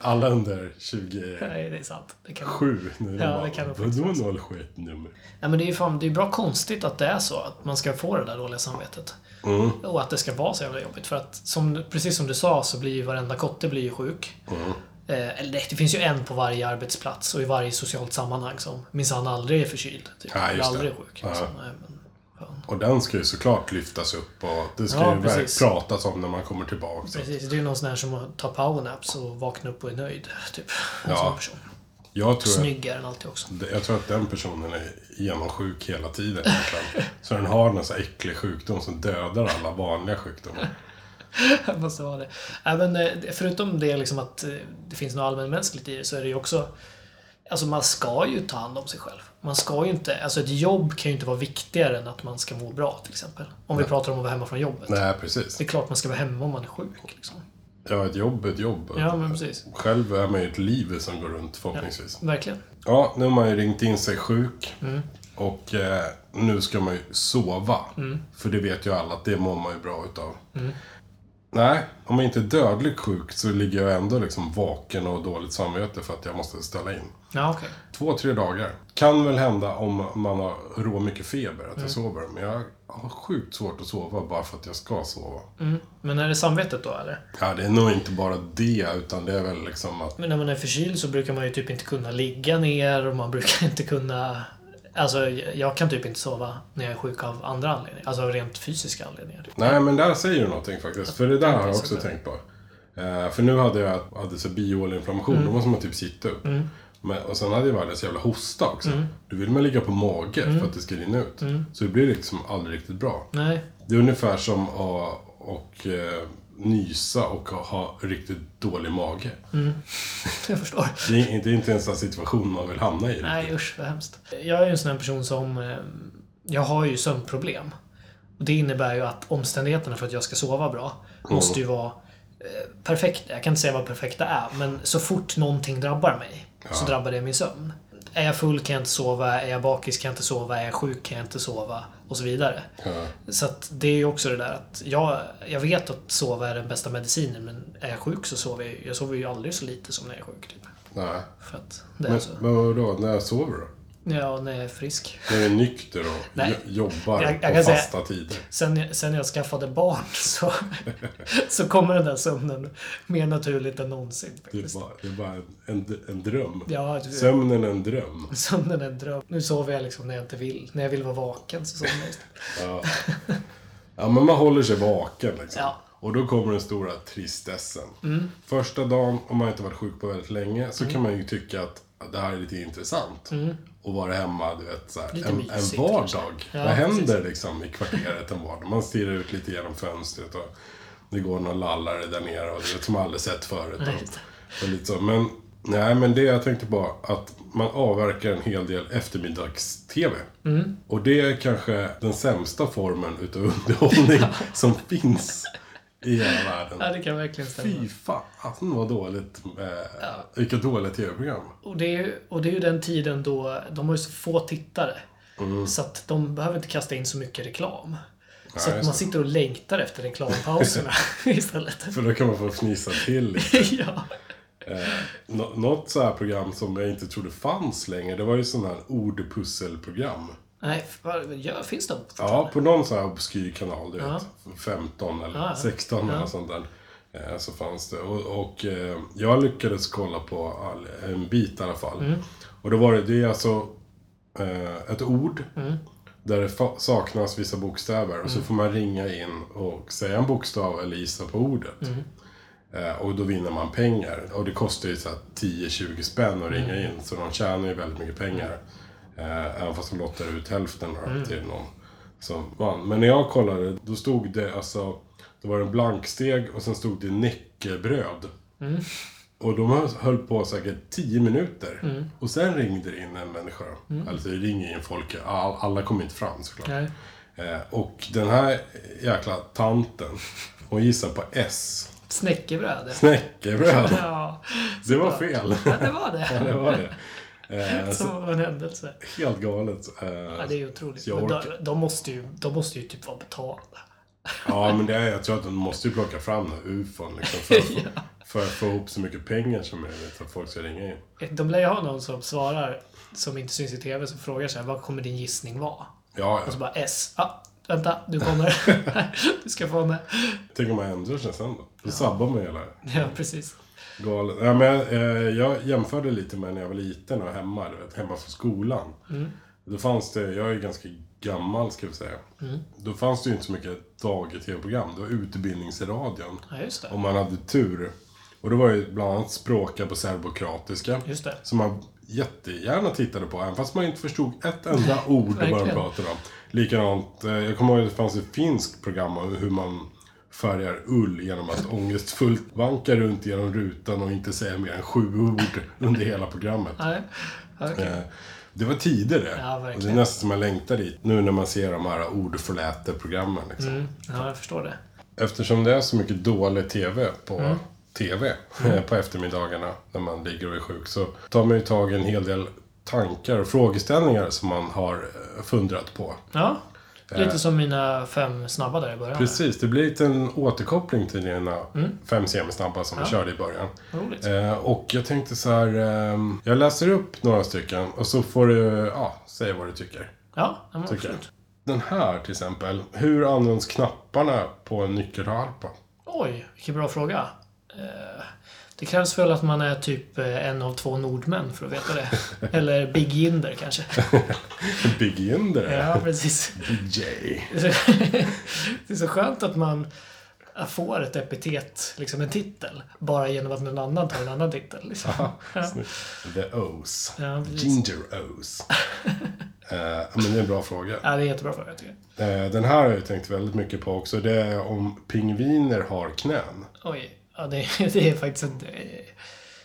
Speaker 1: Alla under 27
Speaker 2: Nej, det är sant. Det kan...
Speaker 1: nu.
Speaker 2: Ja,
Speaker 1: bara,
Speaker 2: det kan de faktiskt
Speaker 1: Vadå 071 nummer?
Speaker 2: Nej, men det är ju fan, det är bra konstigt att det är så. Att man ska få det där dåliga samvetet.
Speaker 1: Mm.
Speaker 2: Och att det ska vara så jävla jobbigt. För att, som, precis som du sa, så blir ju varenda kotte blir ju sjuk.
Speaker 1: Mm.
Speaker 2: Eh, eller nej, det finns ju en på varje arbetsplats och i varje socialt sammanhang som minsann aldrig är förkyld. Typ.
Speaker 1: Ja, just
Speaker 2: eller aldrig är
Speaker 1: det.
Speaker 2: sjuk.
Speaker 1: Ja.
Speaker 2: Liksom. Nej, men, fan.
Speaker 1: Och den ska ju såklart lyftas upp och det ska
Speaker 2: Ja,
Speaker 1: ju verkligen
Speaker 2: precis.
Speaker 1: pratas om när man kommer tillbaka.
Speaker 2: Precis, det är ju någon sån här som tar powernaps och vaknar upp och är nöjd. Typ. En
Speaker 1: Ja.
Speaker 2: sån person.
Speaker 1: Jag tror, att,
Speaker 2: Snyggare än alltid också.
Speaker 1: jag tror att den personen är genomsjuk hela tiden egentligen. Så den har någon sån här äcklig sjukdom som dödar alla vanliga sjukdomar.
Speaker 2: Det måste vara det. Även, eh, förutom det liksom att eh, det finns något allmänmänskligt i det så är det ju också Alltså man ska ju ta hand om sig själv. Man ska ju inte, alltså ett jobb kan ju inte vara viktigare än att man ska må bra till exempel. Om vi pratar om att vara hemma från jobbet.
Speaker 1: Nej, precis.
Speaker 2: Det är klart man ska vara hemma om man är sjuk. Liksom.
Speaker 1: Ja, ett jobb är ett jobb.
Speaker 2: Ja, men precis.
Speaker 1: Själv är man ju ett liv som går runt förhoppningsvis.
Speaker 2: Verkligen.
Speaker 1: Ja, nu har man ju ringt in sig sjuk. Och eh, nu ska man ju sova. För det vet ju alla att det mår man ju bra utav. Nej, om man inte är dödligt sjuk så ligger jag ändå liksom vaken och har dåligt samvete för att jag måste ställa in.
Speaker 2: Ja, okej.
Speaker 1: Två, tre dagar. Kan väl hända om man har rå mycket feber att jag sover. Men jag har sjukt svårt att sova bara för att jag ska sova.
Speaker 2: Mm. Men är det samvetet då eller?
Speaker 1: Ja, det är nog inte bara det, utan det är väl liksom att...
Speaker 2: Men när man är förkyld så brukar man ju typ inte kunna ligga ner och man brukar inte kunna... Alltså jag kan typ inte sova när jag är sjuk av andra anledningar. Alltså av rent fysiska anledningar. Typ.
Speaker 1: Nej, men där säger du någonting faktiskt. För det där har jag
Speaker 2: tänkte
Speaker 1: också
Speaker 2: så där.
Speaker 1: tänkt på. Eh, för nu hade jag hade så bihåleinflammation,
Speaker 2: Mm.
Speaker 1: då måste man typ sitta upp. Men, och sen hade jag världens jävla hosta också.
Speaker 2: Mm.
Speaker 1: Då vill man ligga på mage för att det ska rinna ut. Så det blir liksom aldrig riktigt bra.
Speaker 2: Nej.
Speaker 1: Det är ungefär som att och, eh, nysa och ha riktigt dålig mage.
Speaker 2: Jag förstår.
Speaker 1: Det, är, det är inte ens en situation man vill hamna i.
Speaker 2: Nej usch vad hemskt. Jag är ju en sån här person som... eh, Jag har ju sömnproblem. Och det innebär ju att omständigheterna för att jag ska sova bra
Speaker 1: Mm.
Speaker 2: måste ju vara eh, perfekt. Jag kan inte säga vad perfekta är, men så fort någonting drabbar mig så drabbar det min sömn. Är jag full kan jag inte sova, är jag bakis kan jag inte sova, är jag sjuk kan jag inte sova och så vidare.
Speaker 1: Ja.
Speaker 2: Så att det är ju också det där att jag, jag vet att sova är den bästa medicinen men är jag sjuk så sover jag ju. Jag sover ju aldrig så lite som när jag är sjuk. Typ.
Speaker 1: Nej.
Speaker 2: För att det är
Speaker 1: Men,
Speaker 2: så.
Speaker 1: men vadå, när sover du?
Speaker 2: Ja, när jag är frisk.
Speaker 1: När du är nykter och
Speaker 2: Nej.
Speaker 1: jo- jobbar
Speaker 2: Jag- jag
Speaker 1: på
Speaker 2: kan säga-
Speaker 1: fasta tider?
Speaker 2: Sen, sen jag skaffade barn så, så kommer den där sömnen mer naturligt än någonsin.
Speaker 1: Det är
Speaker 2: Faktiskt.
Speaker 1: bara, det är bara en, en, en dröm.
Speaker 2: Ja, du-
Speaker 1: Sömnen är en dröm.
Speaker 2: sömnen är en dröm. Nu sover jag liksom när jag inte vill. När jag vill vara vaken så somnar jag.
Speaker 1: Ja. ja, men man håller sig vaken liksom.
Speaker 2: Ja. Mm.
Speaker 1: Och då kommer den stora tristessen. Första dagen, om man inte varit sjuk på väldigt länge, så kan man ju tycka att det här är lite intressant. Och vara hemma, du vet, så här,
Speaker 2: Mm. Lite
Speaker 1: en, en
Speaker 2: mysigt,
Speaker 1: vardag.
Speaker 2: Ja,
Speaker 1: Vad händer
Speaker 2: precis.
Speaker 1: liksom i kvarteret en vardag? Man stirrar ut lite genom fönstret och det går någon lallare där nere och du vet, som man aldrig sett förut.
Speaker 2: Nej, just det.
Speaker 1: Och, och lite så. Men, nej, men det jag tänkte på, att man avverkar en hel del eftermiddags-TV.
Speaker 2: Mm.
Speaker 1: Och det är kanske den sämsta formen utav underhållning som finns i hela världen.
Speaker 2: Ja, det kan verkligen stämma.
Speaker 1: Fy fan vad dåligt, eh, vilka dåliga tv-program.
Speaker 2: Och det, är, ju- och det är ju den tiden då de har ju så få tittare.
Speaker 1: Mm.
Speaker 2: Så att de behöver inte kasta in så mycket reklam. så
Speaker 1: Nej,
Speaker 2: att
Speaker 1: just det.
Speaker 2: man sitter och längtar efter reklampauserna istället.
Speaker 1: För då kan man få fnisa till lite.
Speaker 2: ja.
Speaker 1: Nå- Något så här program som jag inte trodde fanns längre, det var ju sån här ordpusselprogram.
Speaker 2: Nej, vad- ja, finns de?
Speaker 1: Ja, på någon sån här obskyr kanal, du
Speaker 2: Ja.
Speaker 1: vet. 15 eller
Speaker 2: Ja, ja.
Speaker 1: 16 eller något sånt där. eh, Så fanns det. Och, och eh, jag lyckades kolla på all, en bit i alla fall.
Speaker 2: Mm.
Speaker 1: Och då var det, det är alltså eh, ett ord.
Speaker 2: Mm.
Speaker 1: Där det fa- saknas vissa bokstäver. Och så får man ringa in och säga en bokstav eller gissa på ordet. Eh, Och då vinner man pengar. Och det kostar ju så här 10-20 spänn att ringa in. Så de tjänar ju väldigt mycket pengar. Eh, även fast de lottar ut hälften då, till någon som vann. Men när jag kollade, då stod det alltså... Det var en blanksteg och sen stod det näckebröd. Och de hö- höll på säkert 10 minuter. Och sen ringde det in en människa. Alltså det ringer in folk, all, alla kom inte fram såklart.
Speaker 2: Nej.
Speaker 1: Eh, och den här jäkla tanten, hon gissar på S.
Speaker 2: Snäckebröd.
Speaker 1: Knäckebröd.
Speaker 2: Ja,
Speaker 1: Det var fel.
Speaker 2: ja, det var
Speaker 1: Ja,
Speaker 2: det.
Speaker 1: det var det. Eh,
Speaker 2: Som
Speaker 1: så
Speaker 2: av en händelse.
Speaker 1: helt galet. Eh,
Speaker 2: Ja, det är ju otroligt.
Speaker 1: Jag
Speaker 2: Men de,
Speaker 1: orkar-
Speaker 2: de, måste ju, de måste ju typ vara betalda.
Speaker 1: Ja, men det är, jag tror att de måste ju plocka fram den här ufon liksom, för, att få, för att få ihop så mycket pengar som möjligt för att folk ska ringa in.
Speaker 2: De lär ju ha någon som svarar, som inte syns i TV, som frågar så här, vad kommer din gissning vara?
Speaker 1: Ja,
Speaker 2: Och så
Speaker 1: ja.
Speaker 2: bara S. Ja, vänta, du kommer. du ska få vara med.
Speaker 1: Tänk om man ändrar sig sen då. Då sabbar man hela
Speaker 2: Ja, precis.
Speaker 1: galet. Ja, men, jag, eh, jag jämförde lite med när jag var liten och hemma, du vet, hemma från skolan.
Speaker 2: Mm.
Speaker 1: Då fanns det, jag är ju ganska gammal ska vi säga.
Speaker 2: Mm.
Speaker 1: Då fanns det ju inte så mycket dag i tv-program. Det var utbildningsradion.
Speaker 2: Ja, just det.
Speaker 1: Om man hade tur Och då var det bland annat språka på serbokroatiska.
Speaker 2: Just det.
Speaker 1: Som man jättegärna tittade på, även fast man inte förstod ett enda ord vad de
Speaker 2: verkligen.
Speaker 1: pratade om. Likadant, eh, jag kommer ihåg att det fanns ett finskt program om hur man färgar ull genom att ångestfullt vanka runt genom rutan och inte säga mer än sju ord under hela programmet.
Speaker 2: Nej. Okej.
Speaker 1: Eh, Det var tider det.
Speaker 2: Ja,
Speaker 1: och det är
Speaker 2: verkligen.
Speaker 1: nästan som man längtar dit, nu när man ser de här ordförläte-programmen. Liksom.
Speaker 2: Mm. Ja, jag förstår det.
Speaker 1: Eftersom det är så mycket dålig TV på
Speaker 2: Mm.
Speaker 1: TV på eftermiddagarna när man ligger och är sjuk så tar man ju tag i en hel del tankar och frågeställningar som man har eh, fundrat på.
Speaker 2: Ja. Lite som mina fem snabba där i början.
Speaker 1: Eh. Precis, det blir lite en återkoppling till dina
Speaker 2: Mm.
Speaker 1: fem semisnabba som vi körde i början.
Speaker 2: Roligt.
Speaker 1: Eh, och jag tänkte så här, ehm, jag läser upp några stycken och så får du, ja, säga vad du tycker.
Speaker 2: Ja, ja, men
Speaker 1: tycker jag.
Speaker 2: absolut.
Speaker 1: Den här till exempel, hur används knapparna på en nyckelharpa?
Speaker 2: Oj, vilken bra fråga. Eh, Det krävs väl att man är typ eh, en av två nordmän för att veta det. Eller Big Jinder kanske.
Speaker 1: Beginner?
Speaker 2: Ja, precis.
Speaker 1: DJ.
Speaker 2: Det är så skönt att man får ett epitet, liksom en titel, bara genom att någon annan tar en annan titel. Liksom. Ja.
Speaker 1: Snyggt. The O's.
Speaker 2: Ja, precis.
Speaker 1: Ginger O's. Eh, ja, men det är en bra fråga.
Speaker 2: ja, det är jättebra fråga tycker jag.
Speaker 1: Eh, den här har jag tänkt väldigt mycket på också. Det är om pingviner har knän.
Speaker 2: Oj, ja, det, det är faktiskt en eh,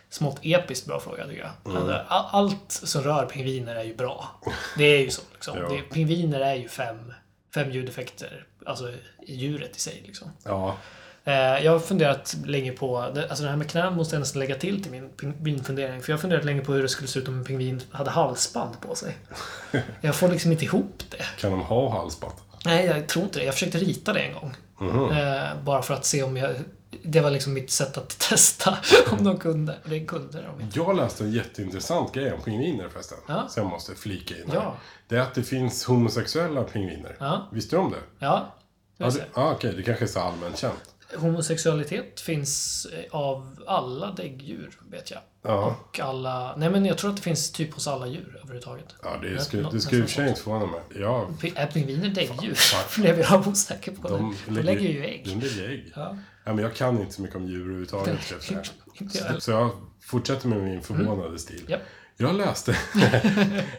Speaker 2: smått episkt bra fråga tycker jag. Alltså, a- Allt som rör pingviner är ju bra. Det är ju så. Liksom.
Speaker 1: Ja.
Speaker 2: Det, pingviner är ju fem, fem ljudeffekter, alltså i djuret i sig. Liksom.
Speaker 1: Ja,
Speaker 2: Eh, Jag har funderat länge på, det- alltså det här med knän måste jag nästan lägga till till min pingvinfundering. För jag har funderat länge på hur det skulle se ut om en pingvin hade halsband på sig. Jag får liksom inte ihop det.
Speaker 1: kan de ha halsband?
Speaker 2: Nej, jag tror inte det. Jag försökte rita det en gång.
Speaker 1: Mhm.
Speaker 2: Eh, Bara för att se om jag... Det var liksom mitt sätt att testa om de kunde. Det kunde de inte.
Speaker 1: Jag läste en jätteintressant grej om pingviner förresten.
Speaker 2: Ja.
Speaker 1: Så jag måste flika in här.
Speaker 2: Ja.
Speaker 1: Det är att det finns homosexuella pingviner.
Speaker 2: Ja.
Speaker 1: Visste du om det?
Speaker 2: Ja, det
Speaker 1: Ja, det,
Speaker 2: vill säga.
Speaker 1: ah, okej. Det kanske är så allmänt känt.
Speaker 2: Homosexualitet finns eh, av alla däggdjur, vet jag.
Speaker 1: Ja,
Speaker 2: Och alla... Nej, men jag tror att det finns typ hos alla djur överhuvudtaget.
Speaker 1: ja det
Speaker 2: Ja,
Speaker 1: skulle
Speaker 2: nå-
Speaker 1: det skulle i och för sig
Speaker 2: nästan
Speaker 1: inte förvåna mig. Ja,
Speaker 2: Pi- Är pingviner däggdjur?
Speaker 1: Fan.
Speaker 2: Blev jag osäker på det.
Speaker 1: de
Speaker 2: De lägger, ju ägg.
Speaker 1: De lägger ägg.
Speaker 2: Ja.
Speaker 1: Ja, men jag kan inte så mycket om djur överhuvudtaget. ska jag säga.
Speaker 2: Inte jag heller. Mm.
Speaker 1: Så jag fortsätter med min förvånade stil.
Speaker 2: Japp.
Speaker 1: Jag läste...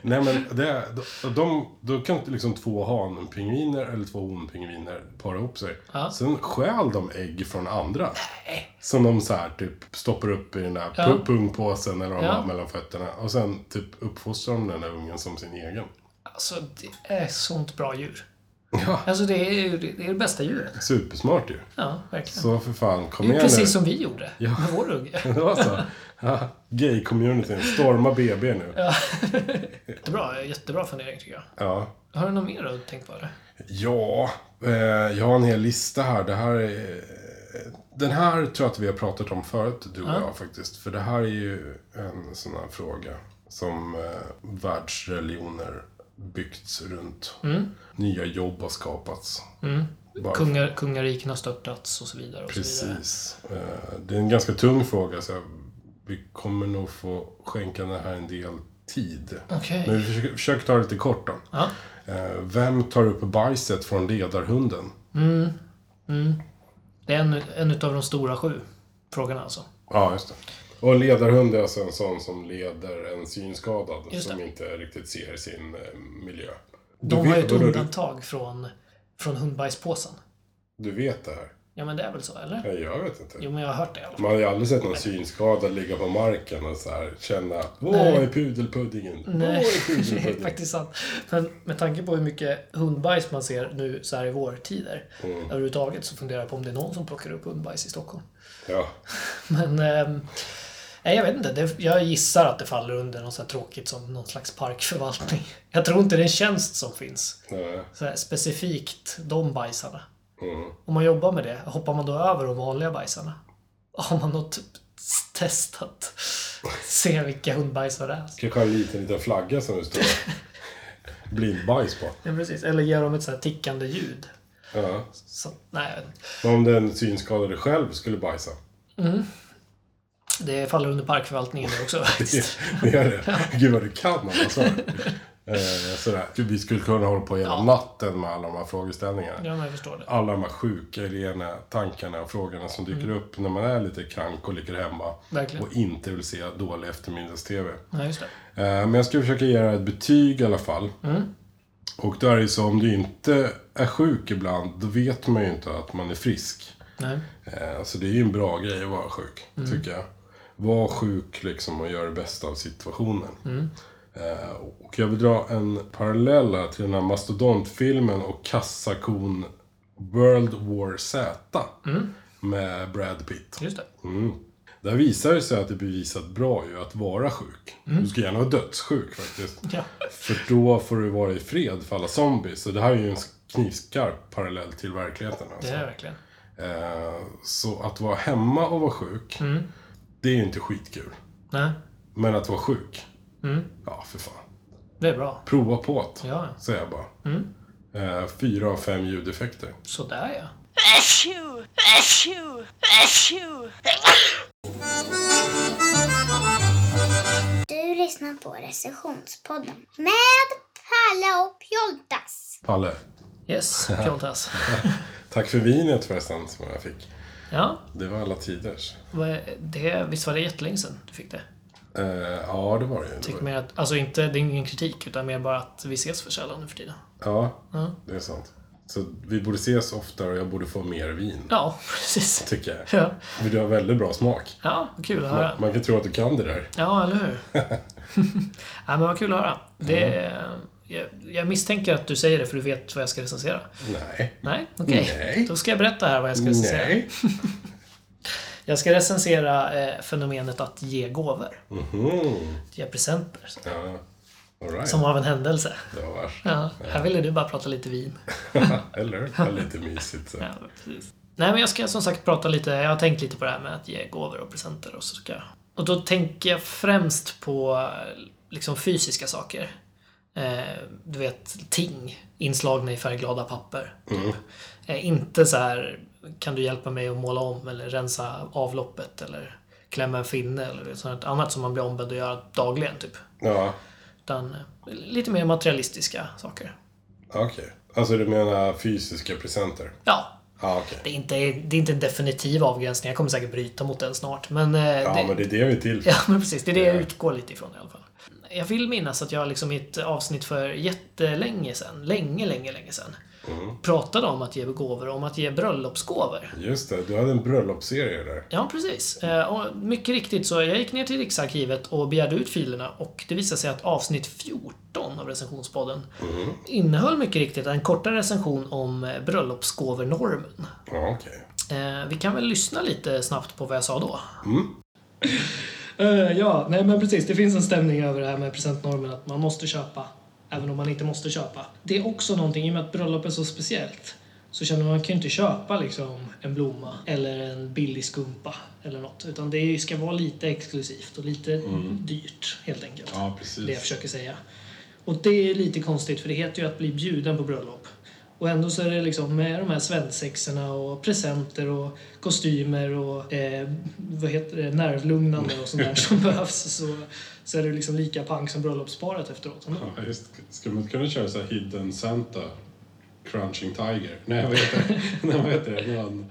Speaker 1: Nej, men det, de, de, då kan inte liksom två hanpingviner eller två honpingviner para ihop sig.
Speaker 2: Ja.
Speaker 1: Sen stjäl de ägg från andra. Som de så här typ stoppar upp i den där
Speaker 2: Ja.
Speaker 1: pu- pungpåsen eller vad de
Speaker 2: Ja.
Speaker 1: har mellan fötterna. Och sen typ uppfostrar de den där ungen som sin egen.
Speaker 2: Alltså, det är sånt bra djur.
Speaker 1: Ja.
Speaker 2: Alltså, det är ju det, är det bästa djuret.
Speaker 1: Supersmart ju.
Speaker 2: Ja, verkligen.
Speaker 1: Så för fan, kom
Speaker 2: det
Speaker 1: igen
Speaker 2: är ju
Speaker 1: nu.
Speaker 2: precis som vi gjorde
Speaker 1: Ja.
Speaker 2: med vår unge.
Speaker 1: Det var så? Ja, Gay-communityn. Storma BB nu. Ja.
Speaker 2: Jättebra, jättebra fundering tycker jag.
Speaker 1: ja.
Speaker 2: Har du något mer du tänkt på eller?
Speaker 1: eh, jag har en hel lista här. Det här är, eh, den här tror jag att vi har pratat om förut, du och jag faktiskt. För det här är ju en sån här fråga som eh, världsreligioner byggts runt.
Speaker 2: Mm.
Speaker 1: Nya jobb har skapats. Bara-
Speaker 2: Kungar, kungariken har störtats och så vidare. Och Mm. Så vidare.
Speaker 1: Precis. Eh, Det är en ganska tung fråga, så jag- vi kommer nog få skänka den här en del tid.
Speaker 2: Okej.
Speaker 1: Men vi försöker, försöker ta det lite kort då.
Speaker 2: Ja.
Speaker 1: Eh, Vem tar upp bajset från ledarhunden?
Speaker 2: Det är en, en utav de stora sju frågorna alltså.
Speaker 1: Ja, just det. Och ledarhund är alltså en sån som leder en synskadad
Speaker 2: Just
Speaker 1: som
Speaker 2: det.
Speaker 1: inte riktigt ser sin eh, miljö. Du
Speaker 2: De har ju
Speaker 1: vet,
Speaker 2: ett
Speaker 1: vadå,
Speaker 2: undantag från, från hundbajspåsen.
Speaker 1: du, du vet det här?
Speaker 2: Ja, men det är väl så, eller?
Speaker 1: Nej, jag vet inte.
Speaker 2: Jo, men jag har hört det i alla fall.
Speaker 1: Man har ju aldrig sett någon synskadad ligga på marken och så här känna Åh,
Speaker 2: Nej.
Speaker 1: är pudelpuddingen? Åh,
Speaker 2: Nej,
Speaker 1: är
Speaker 2: det är
Speaker 1: pudelpuddingen?
Speaker 2: faktiskt sant. Men med tanke på hur mycket hundbajs man ser nu så här i vårtider
Speaker 1: Mm.
Speaker 2: överhuvudtaget så funderar jag på om det är någon som plockar upp hundbajs i Stockholm.
Speaker 1: Ja.
Speaker 2: Men ehm, nej, jag vet inte. Det, jag gissar att det faller under något så här tråkigt som någon slags parkförvaltning. Jag tror inte det är en tjänst som finns
Speaker 1: Nej. Mm.
Speaker 2: så här, specifikt de bajsarna. Om man jobbar med det, hoppar man då över de vanliga bajsarna? Har man något test att se vilka hundbajsar det är?
Speaker 1: Kanske ha en liten, liten flagga som det står blindbajs på.
Speaker 2: Ja, precis. Eller ger dem ett så här tickande ljud.
Speaker 1: Ja.
Speaker 2: Så, nej, jag vet inte.
Speaker 1: Men om den synskadade själv skulle bajsa?
Speaker 2: det faller under parkförvaltningen det också faktiskt.
Speaker 1: Det gör det? Gud vad du kan alltså. Eh, sådär. Vi skulle kunna hålla på hela
Speaker 2: Ja.
Speaker 1: natten med alla de här frågeställningarna.
Speaker 2: Ja, men jag förstår det.
Speaker 1: Alla de här sjuka, rena tankarna och frågorna som dyker upp när man är lite krank och ligger hemma.
Speaker 2: Verkligen.
Speaker 1: Och inte vill se dålig eftermiddags-TV.
Speaker 2: Ja, just det.
Speaker 1: Eh, Men jag ska försöka ge det här ett betyg i alla fall. Och då är det ju så, om du inte är sjuk ibland, då vet man ju inte att man är frisk.
Speaker 2: Nej.
Speaker 1: Eh, Så det är ju en bra grej att vara sjuk, tycker jag. Var sjuk liksom och gör det bästa av situationen. Eh, Och jag vill dra en parallell här till den här mastodontfilmen och kassakon World War Z. Med Brad Pitt.
Speaker 2: Just det.
Speaker 1: Mm. Där visar det sig att det blir visat bra ju att vara sjuk. Du ska gärna vara dödssjuk faktiskt.
Speaker 2: Ja.
Speaker 1: För då får du vara i fred för alla zombies. Så det här är ju en knivskarp parallell till verkligheten.
Speaker 2: Det
Speaker 1: Alltså.
Speaker 2: är verkligen.
Speaker 1: Eh, så att vara hemma och vara sjuk,
Speaker 2: Mm.
Speaker 1: det är ju inte skitkul.
Speaker 2: Nej,
Speaker 1: Men att vara sjuk,
Speaker 2: Mm.
Speaker 1: ja för fan.
Speaker 2: det är bra.
Speaker 1: Prova på det,
Speaker 2: Ja, Mm.
Speaker 1: säger jag bara. Eh, fyra av fem ljudeffekter.
Speaker 2: sådär ja.
Speaker 4: Achoo! Achoo! Achoo!
Speaker 5: Du lyssnar på recensionspodden med Palle och Pjoltas.
Speaker 1: Palle,
Speaker 2: Yes, Pjoltas.
Speaker 1: tack för vinet förresten som jag fick.
Speaker 2: Ja,
Speaker 1: Det var alla tiders.
Speaker 2: vad är- det, visst var det jättelänge sedan du fick det?
Speaker 1: Eh, ja, det var det ju. Det var
Speaker 2: Tycker mer att, alltså inte, det är ingen kritik, utan mer bara att vi ses för sällan nu för tiden.
Speaker 1: Ja, det är sant. Så vi borde ses oftare och jag borde få mer vin.
Speaker 2: Ja, precis.
Speaker 1: Tycker jag.
Speaker 2: Ja,
Speaker 1: För du har väldigt bra smak.
Speaker 2: ja vad kul att höra.
Speaker 1: Man kan tro att du kan det där.
Speaker 2: Ja, eller hur? ja, men vad kul att höra. Det, jag, jag misstänker att du säger det för du vet vad jag ska recensera.
Speaker 1: Nej.
Speaker 2: Nej, okej.
Speaker 1: Nej.
Speaker 2: Då ska jag berätta här vad jag ska recensera.
Speaker 1: Nej.
Speaker 2: Jag ska recensera eh, fenomenet att ge gåvor.
Speaker 1: Mhm.
Speaker 2: Ge presenter. så-
Speaker 1: Ja. Alright.
Speaker 2: Som av en händelse.
Speaker 1: Det var värst.
Speaker 2: Ja, här ville du bara prata lite vin.
Speaker 1: Eller hur? Det var lite mysigt. Så.
Speaker 2: Ja, precis. Nej, men jag ska som sagt prata lite, jag har tänkt lite på det här med att ge gåvor och presenter och så ska jag. Och då tänker jag främst på eh, liksom fysiska saker. Eh, du vet, ting inslagna i färgglada papper. Typ. Eh, inte så här, kan du hjälpa mig att måla om eller rensa avloppet eller klämma en finne eller sånt här annat som man blir ombedd att göra dagligen typ.
Speaker 1: Ja,
Speaker 2: Utan eh, lite mer materialistiska saker.
Speaker 1: okej. Alltså du menar fysiska presenter?
Speaker 2: Ja,
Speaker 1: Ja, okej.
Speaker 2: Det är, inte, det är inte en definitiv avgränsning, jag kommer säkert bryta mot den snart. Men, eh,
Speaker 1: Ja,
Speaker 2: det,
Speaker 1: men det är det vi är till för.
Speaker 2: ja, men precis, det är det jag utgår lite ifrån i alla fall. Jag vill minnas att jag liksom i ett avsnitt för jättelänge sedan, länge, länge, länge sedan,
Speaker 1: Mm.
Speaker 2: pratade om att ge gåvor, om att ge bröllopsgåvor.
Speaker 1: Just det, du hade en bröllopsserie där.
Speaker 2: Ja, precis. Eh, Och mycket riktigt så jag gick ner till Riksarkivet och begärde ut filerna och det visade sig att avsnitt 14 av recensionspodden
Speaker 1: Mm.
Speaker 2: innehöll mycket riktigt en kortare recension om eh, bröllopsgåvornormen.
Speaker 1: Ja, okej.
Speaker 2: Eh, vi kan väl lyssna lite snabbt på vad jag sa då. Eh, ja, nej men precis. Det finns en stämning över det här med presentnormen att man måste köpa, även om man inte måste köpa. Det är också någonting, i och med att bröllop är så speciellt, så känner man man kan ju inte köpa liksom en blomma eller en billig skumpa eller något. Utan det ska vara lite exklusivt och lite dyrt helt enkelt
Speaker 1: Ja,
Speaker 2: det jag
Speaker 1: precis.
Speaker 2: försöker säga. Och det är lite konstigt för det heter ju att bli bjuden på bröllop. Och ändå så är det liksom med de här svensexorna och presenter och kostymer och eh, vad heter det, nervlugnande och sånt där som behövs så, så är det liksom lika pang som bröllopsparet efteråt. ändå.
Speaker 1: Ja, just. Ska man inte kunna köra så här Hidden Santa? Crunching Tiger? Nej, vad heter det? Nej, vad heter det? Någon...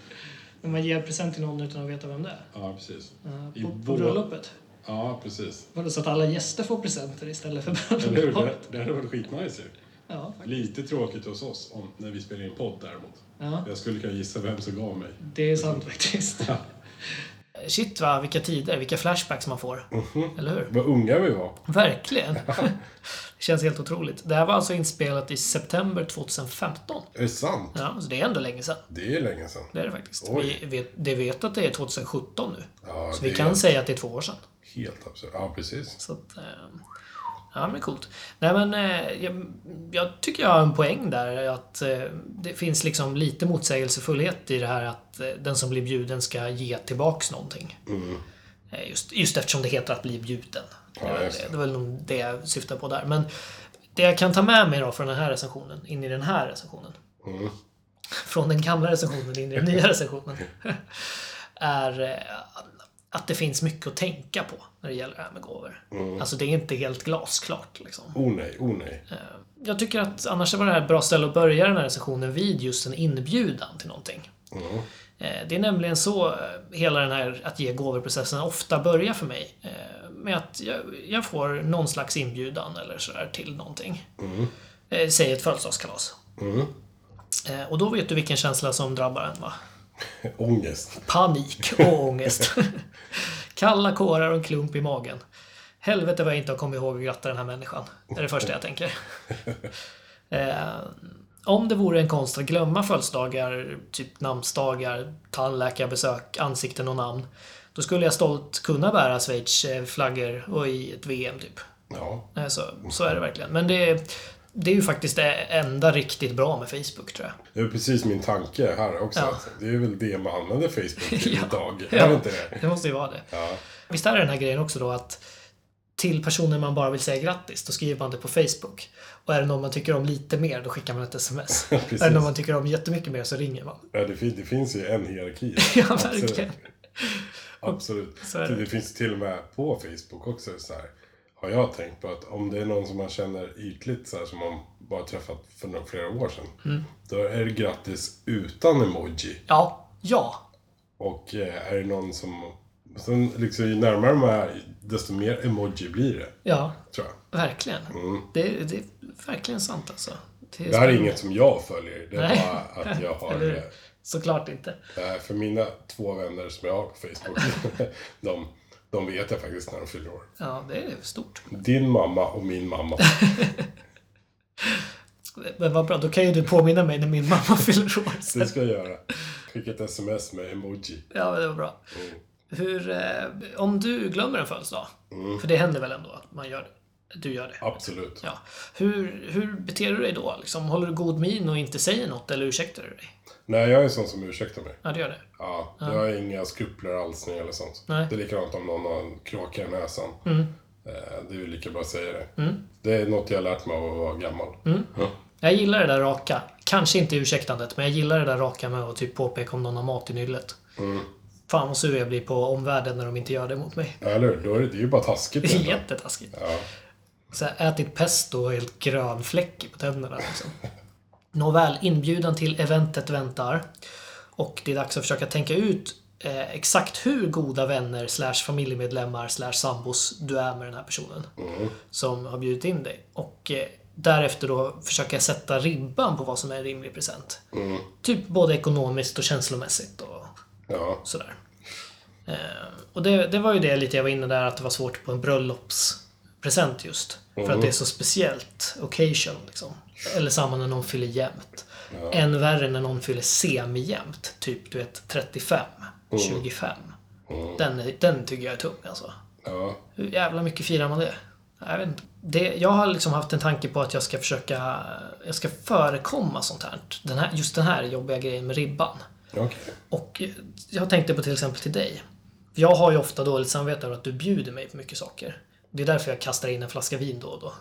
Speaker 2: När man ger present till någon utan att veta vem det är.
Speaker 1: Ja, precis.
Speaker 2: Eh,
Speaker 1: I
Speaker 2: På, på
Speaker 1: vår-
Speaker 2: bröllopet.
Speaker 1: Ja, precis.
Speaker 2: Var det så att alla gäster får presenter istället för
Speaker 1: Eller hur? Det,
Speaker 2: bröllopet?
Speaker 1: det hade varit skitnice ju.
Speaker 2: Ja, faktiskt.
Speaker 1: Lite tråkigt hos oss om, när vi spelar in podd däremot.
Speaker 2: ja,
Speaker 1: Jag skulle kunna gissa vem som gav mig.
Speaker 2: det är sant faktiskt. Shit va, vilka tider, vilka flashbacks man får.
Speaker 1: Mhm.
Speaker 2: Eller hur?
Speaker 1: Vad unga vi var.
Speaker 2: Verkligen! Det känns helt otroligt. Det här var alltså inspelat i september 2015.
Speaker 1: Är det sant?
Speaker 2: Ja, så det är ändå länge sedan.
Speaker 1: Det är länge sedan.
Speaker 2: Det är det faktiskt.
Speaker 1: Oj.
Speaker 2: Vi vet, det vet att det är 2017 nu.
Speaker 1: Ja,
Speaker 2: Så vi
Speaker 1: det
Speaker 2: kan
Speaker 1: är
Speaker 2: säga att det är två år sedan.
Speaker 1: helt absurt. Ja, precis.
Speaker 2: Så att, eh, ja, men coolt. Nej, men eh, jag, jag tycker jag har en poäng där. Att eh, det finns liksom lite motsägelsefullhet i det här att eh, den som blir bjuden ska ge tillbaks någonting.
Speaker 1: Mm.
Speaker 2: Eh, Just, just eftersom det heter att bli bjuden.
Speaker 1: Ja,
Speaker 2: det, var
Speaker 1: just
Speaker 2: det.
Speaker 1: det.
Speaker 2: det var nog det jag syftade på där. Men det jag kan ta med mig då från den här recensionen in i den här recensionen.
Speaker 1: Mm.
Speaker 2: Från den gamla recensionen in i den nya recensionen. är eh, att det finns mycket att tänka på när det gäller det här med gåvor. Alltså det är inte helt glasklart liksom.
Speaker 1: Oh nej, oh nej.
Speaker 2: Jag tycker att annars var det här ett bra ställe att börja den här recensionen vid, just en inbjudan till någonting. Eh, Det är nämligen så eh, hela den här att ge gåvorprocessen ofta börjar för mig. Eh, Med att jag, jag får någon slags inbjudan eller sådär till någonting. Eh, Säg ett födelsedagskalas. Eh, Och då vet du vilken känsla som drabbar en va?
Speaker 1: Ångest.
Speaker 2: Panik och ångest. Kalla kårar och en klump i magen. Helvete vad jag inte har kommit ihåg att gratta den här människan. Det är det första jag tänker. Eh, om det vore en konst att glömma födelsedagar, typ namnsdagar, tandläkarbesök, ansikten och namn. Då skulle jag stolt kunna bära Schweiz eh, flaggor och i ett VM typ.
Speaker 1: Ja.
Speaker 2: Eh, Så, så är det verkligen. Men det, det är ju faktiskt det enda riktigt bra med Facebook tror jag.
Speaker 1: Det är precis min tanke här också.
Speaker 2: Ja.
Speaker 1: Alltså, Det är väl det man använder Facebook till idag.
Speaker 2: Ja,
Speaker 1: Är det inte det?
Speaker 2: det måste ju vara det.
Speaker 1: Ja.
Speaker 2: Visst är det den här grejen också då att till personer man bara vill säga grattis, då skriver man det på Facebook. Och är det någon man tycker om lite mer, då skickar man ett sms. är
Speaker 1: Precis.
Speaker 2: det någon man tycker om jättemycket mer så ringer man.
Speaker 1: Ja, det, fin- det finns ju en hierarki. där.
Speaker 2: Ja, verkligen.
Speaker 1: Absolut.
Speaker 2: så är det.
Speaker 1: det. finns till och med på Facebook också så här. Har jag tänkt på att om det är någon som man känner ytligt så här som man bara träffat för några flera år sedan.
Speaker 2: Mm.
Speaker 1: Då är det grattis utan emoji.
Speaker 2: Ja, ja.
Speaker 1: Och eh, är det någon som... Sen liksom ju närmare de är, desto mer emoji blir det.
Speaker 2: Ja,
Speaker 1: Tror jag.
Speaker 2: verkligen. Det, det är verkligen sant alltså. är
Speaker 1: Det här är
Speaker 2: spännande.
Speaker 1: inget som Mm. jag följer. Det är
Speaker 2: Nej.
Speaker 1: bara att jag har...
Speaker 2: Eller
Speaker 1: eh,
Speaker 2: hur? Såklart inte.
Speaker 1: Eh, För mina två vänner som jag har på Facebook, de, de vet jag faktiskt när de fyller år.
Speaker 2: Ja, det är stort.
Speaker 1: Din mamma och min mamma.
Speaker 2: Men vad bra, då kan ju du påminna mig när min mamma fyller år. sen.
Speaker 1: Det ska jag göra. Skicka ett sms med emoji.
Speaker 2: Ja, men det var bra. Hur, eh, om du glömmer en födelsedag, för det händer väl ändå att man gör det. Du gör det.
Speaker 1: Absolut.
Speaker 2: Ja. Hur, hur beter du dig då? Liksom, håller du god min och inte säger något eller ursäktar du dig?
Speaker 1: Nej, jag är en sån som ursäktar mig.
Speaker 2: Ja, det gör det.
Speaker 1: Ja, jag har inga skrupler alls när det gäller sånt.
Speaker 2: Nej. Mm.
Speaker 1: Det är likadant om någon har en kråka i näsan. Eh, Det är ju lika bra att säga det. Det är något jag har lärt mig av att vara gammal.
Speaker 2: Mm.
Speaker 1: Ja.
Speaker 2: Jag gillar det där raka. Kanske inte ursäktandet, men jag gillar det där raka med att typ påpeka om någon har mat i nyllet. Fan vad sur jag blir på omvärlden när de inte gör det mot mig.
Speaker 1: Eller hur? Då är det, det är ju bara taskigt.
Speaker 2: Det är
Speaker 1: egentligen.
Speaker 2: jättetaskigt.
Speaker 1: Ja.
Speaker 2: Så här, ätit pesto och helt grön fläck på tänderna. Liksom. Nåväl, inbjudan till eventet väntar. Och det är dags att försöka tänka ut eh, exakt hur goda vänner slash familjemedlemmar slash sambos du är med den här personen.
Speaker 1: Mm.
Speaker 2: Som har bjudit in dig. Och eh, därefter då försöka sätta ribban på vad som är en rimlig present.
Speaker 1: Mm.
Speaker 2: Typ både ekonomiskt och känslomässigt och
Speaker 1: Ja.
Speaker 2: sådär. Eh, och det, det var ju det lite jag var inne där att det var svårt på en bröllopspresent just. För att det är så speciellt occasion liksom. Eller samma när någon fyller jämnt. Än värre när någon fyller semijämnt. Typ du vet 35, 25. Den, är- den tycker jag är tung alltså.
Speaker 1: Ja.
Speaker 2: Hur jävla mycket firar man det? Jag vet inte. Det, jag har liksom haft en tanke på att jag ska försöka, jag ska förekomma sånt här. Den här just den här jobbiga grejen med ribban.
Speaker 1: Okej.
Speaker 2: Och jag tänkte på till exempel till dig. Jag har ju ofta dåligt samvete över att du bjuder mig på mycket saker. Det är därför jag kastar in en flaska vin då och då.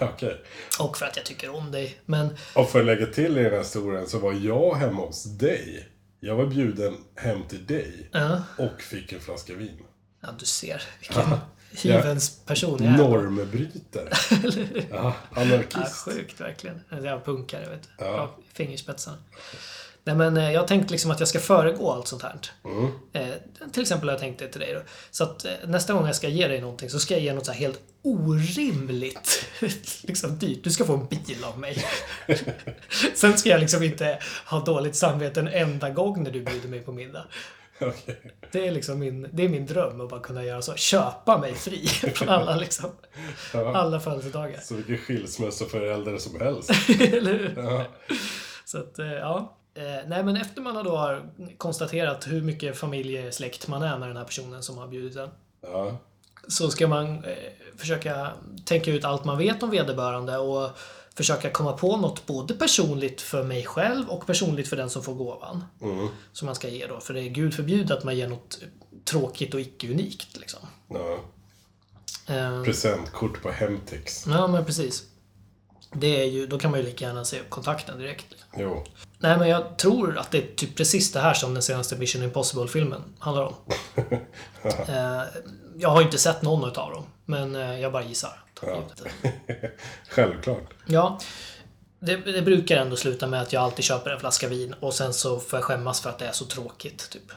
Speaker 1: Okej.
Speaker 2: Och för att jag tycker om dig. Men
Speaker 1: Och för att lägga till i den här historien så var jag hemma hos dig. Jag var bjuden hem till dig.
Speaker 2: Ja.
Speaker 1: Och fick en flaska vin.
Speaker 2: ja, du ser vilken hyvens person jag är.
Speaker 1: Normbrytare. ja,
Speaker 2: Ja,
Speaker 1: anarkist.
Speaker 2: sjukt verkligen. Alltså, Jag punkar, jag vet du.
Speaker 1: Ja.
Speaker 2: Ja. Fingerspetsarna. Nej men eh, jag har tänkt liksom att jag ska föregå allt sånt här.
Speaker 1: Mm.
Speaker 2: Eh, till exempel har jag tänkt det till dig då. Så att eh, nästa gång jag ska ge dig någonting så ska jag ge något så här helt orimligt liksom dyrt. Du ska få en bil av mig. Sen ska jag liksom inte ha dåligt samvete en enda gång när du bjuder mig på middag.
Speaker 1: Okej.
Speaker 2: Det är liksom min, det är min dröm att bara kunna göra så. Köpa mig fri från alla liksom.
Speaker 1: Ja.
Speaker 2: Alla födelsedagar.
Speaker 1: Så vilken skilsmässoförälder som helst.
Speaker 2: Eller hur?
Speaker 1: Ja.
Speaker 2: Så att, eh, ja. Eh, Nej men efter man då har konstaterat hur mycket familjesläkt man är med den här personen som har bjudit en.
Speaker 1: Ja.
Speaker 2: Så ska man eh, försöka tänka ut allt man vet om vederbörande och försöka komma på något både personligt för mig själv och personligt för den som får gåvan. Som man ska ge då. För det är gud förbjude att man ger något tråkigt och icke-unikt. Liksom.
Speaker 1: ja.
Speaker 2: Eh,
Speaker 1: Presentkort på Hemtex.
Speaker 2: Ja men precis. Det är ju, då kan man ju lika gärna se upp kontakten direkt. liksom.
Speaker 1: Jo.
Speaker 2: Nej, men jag tror att det är typ precis det här som den senaste Mission Impossible-filmen handlar om. Eh, jag har ju inte sett någon utav dem, men eh, jag bara gissar.
Speaker 1: Självklart.
Speaker 2: Ja, det, det brukar ändå sluta med att jag alltid köper en flaska vin och sen så får jag skämmas för att det är så tråkigt. Typ.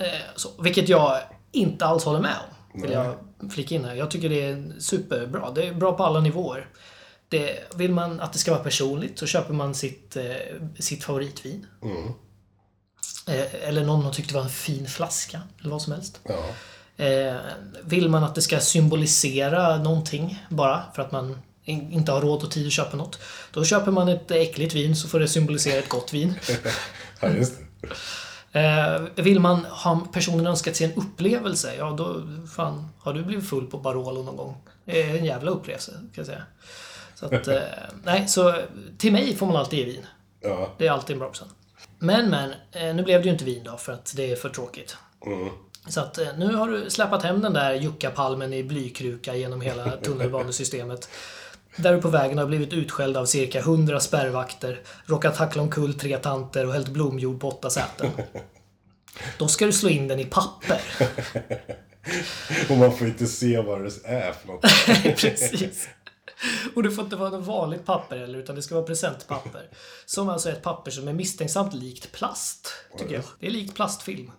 Speaker 2: Eh, så, vilket jag inte alls håller med om. Vill jag flika in här. Jag tycker det är superbra. Det är bra på alla nivåer. Det, vill man att det ska vara personligt så köper man sitt, eh, sitt favoritvin. Eh, eller någon man tyckte var en fin flaska. Eller vad som helst.
Speaker 1: Ja.
Speaker 2: Eh, vill man att det ska symbolisera någonting bara för att man in- inte har råd och tid att köpa något. Då köper man ett äckligt vin så får det symbolisera ett gott vin.
Speaker 1: ja, just det.
Speaker 2: Eh, vill man ha personen önskat sig en upplevelse, ja då fan, har du blivit full på Barolo någon gång? Det är en jävla upplevelse kan jag säga. Så att, eh, nej, så till mig får man alltid ge vin.
Speaker 1: Ja.
Speaker 2: Det är alltid en bra present. Men men, eh, nu blev det ju inte vin då för att det är för tråkigt. Så att eh, nu har du släpat hem den där juckapalmen i blykruka genom hela tunnelbanesystemet. Där du på vägen har blivit utskälld av cirka 100 spärrvakter, råkat hackla omkull tre tanter och hällt blomjord på åtta säten. Då ska du slå in den i papper.
Speaker 1: Och man får inte se vad det är för något.
Speaker 2: Precis. Och det får inte vara något vanligt papper heller, utan det ska vara presentpapper. Som alltså är ett papper som är misstänksamt likt plast, tycker jag. Det är likt plastfilm,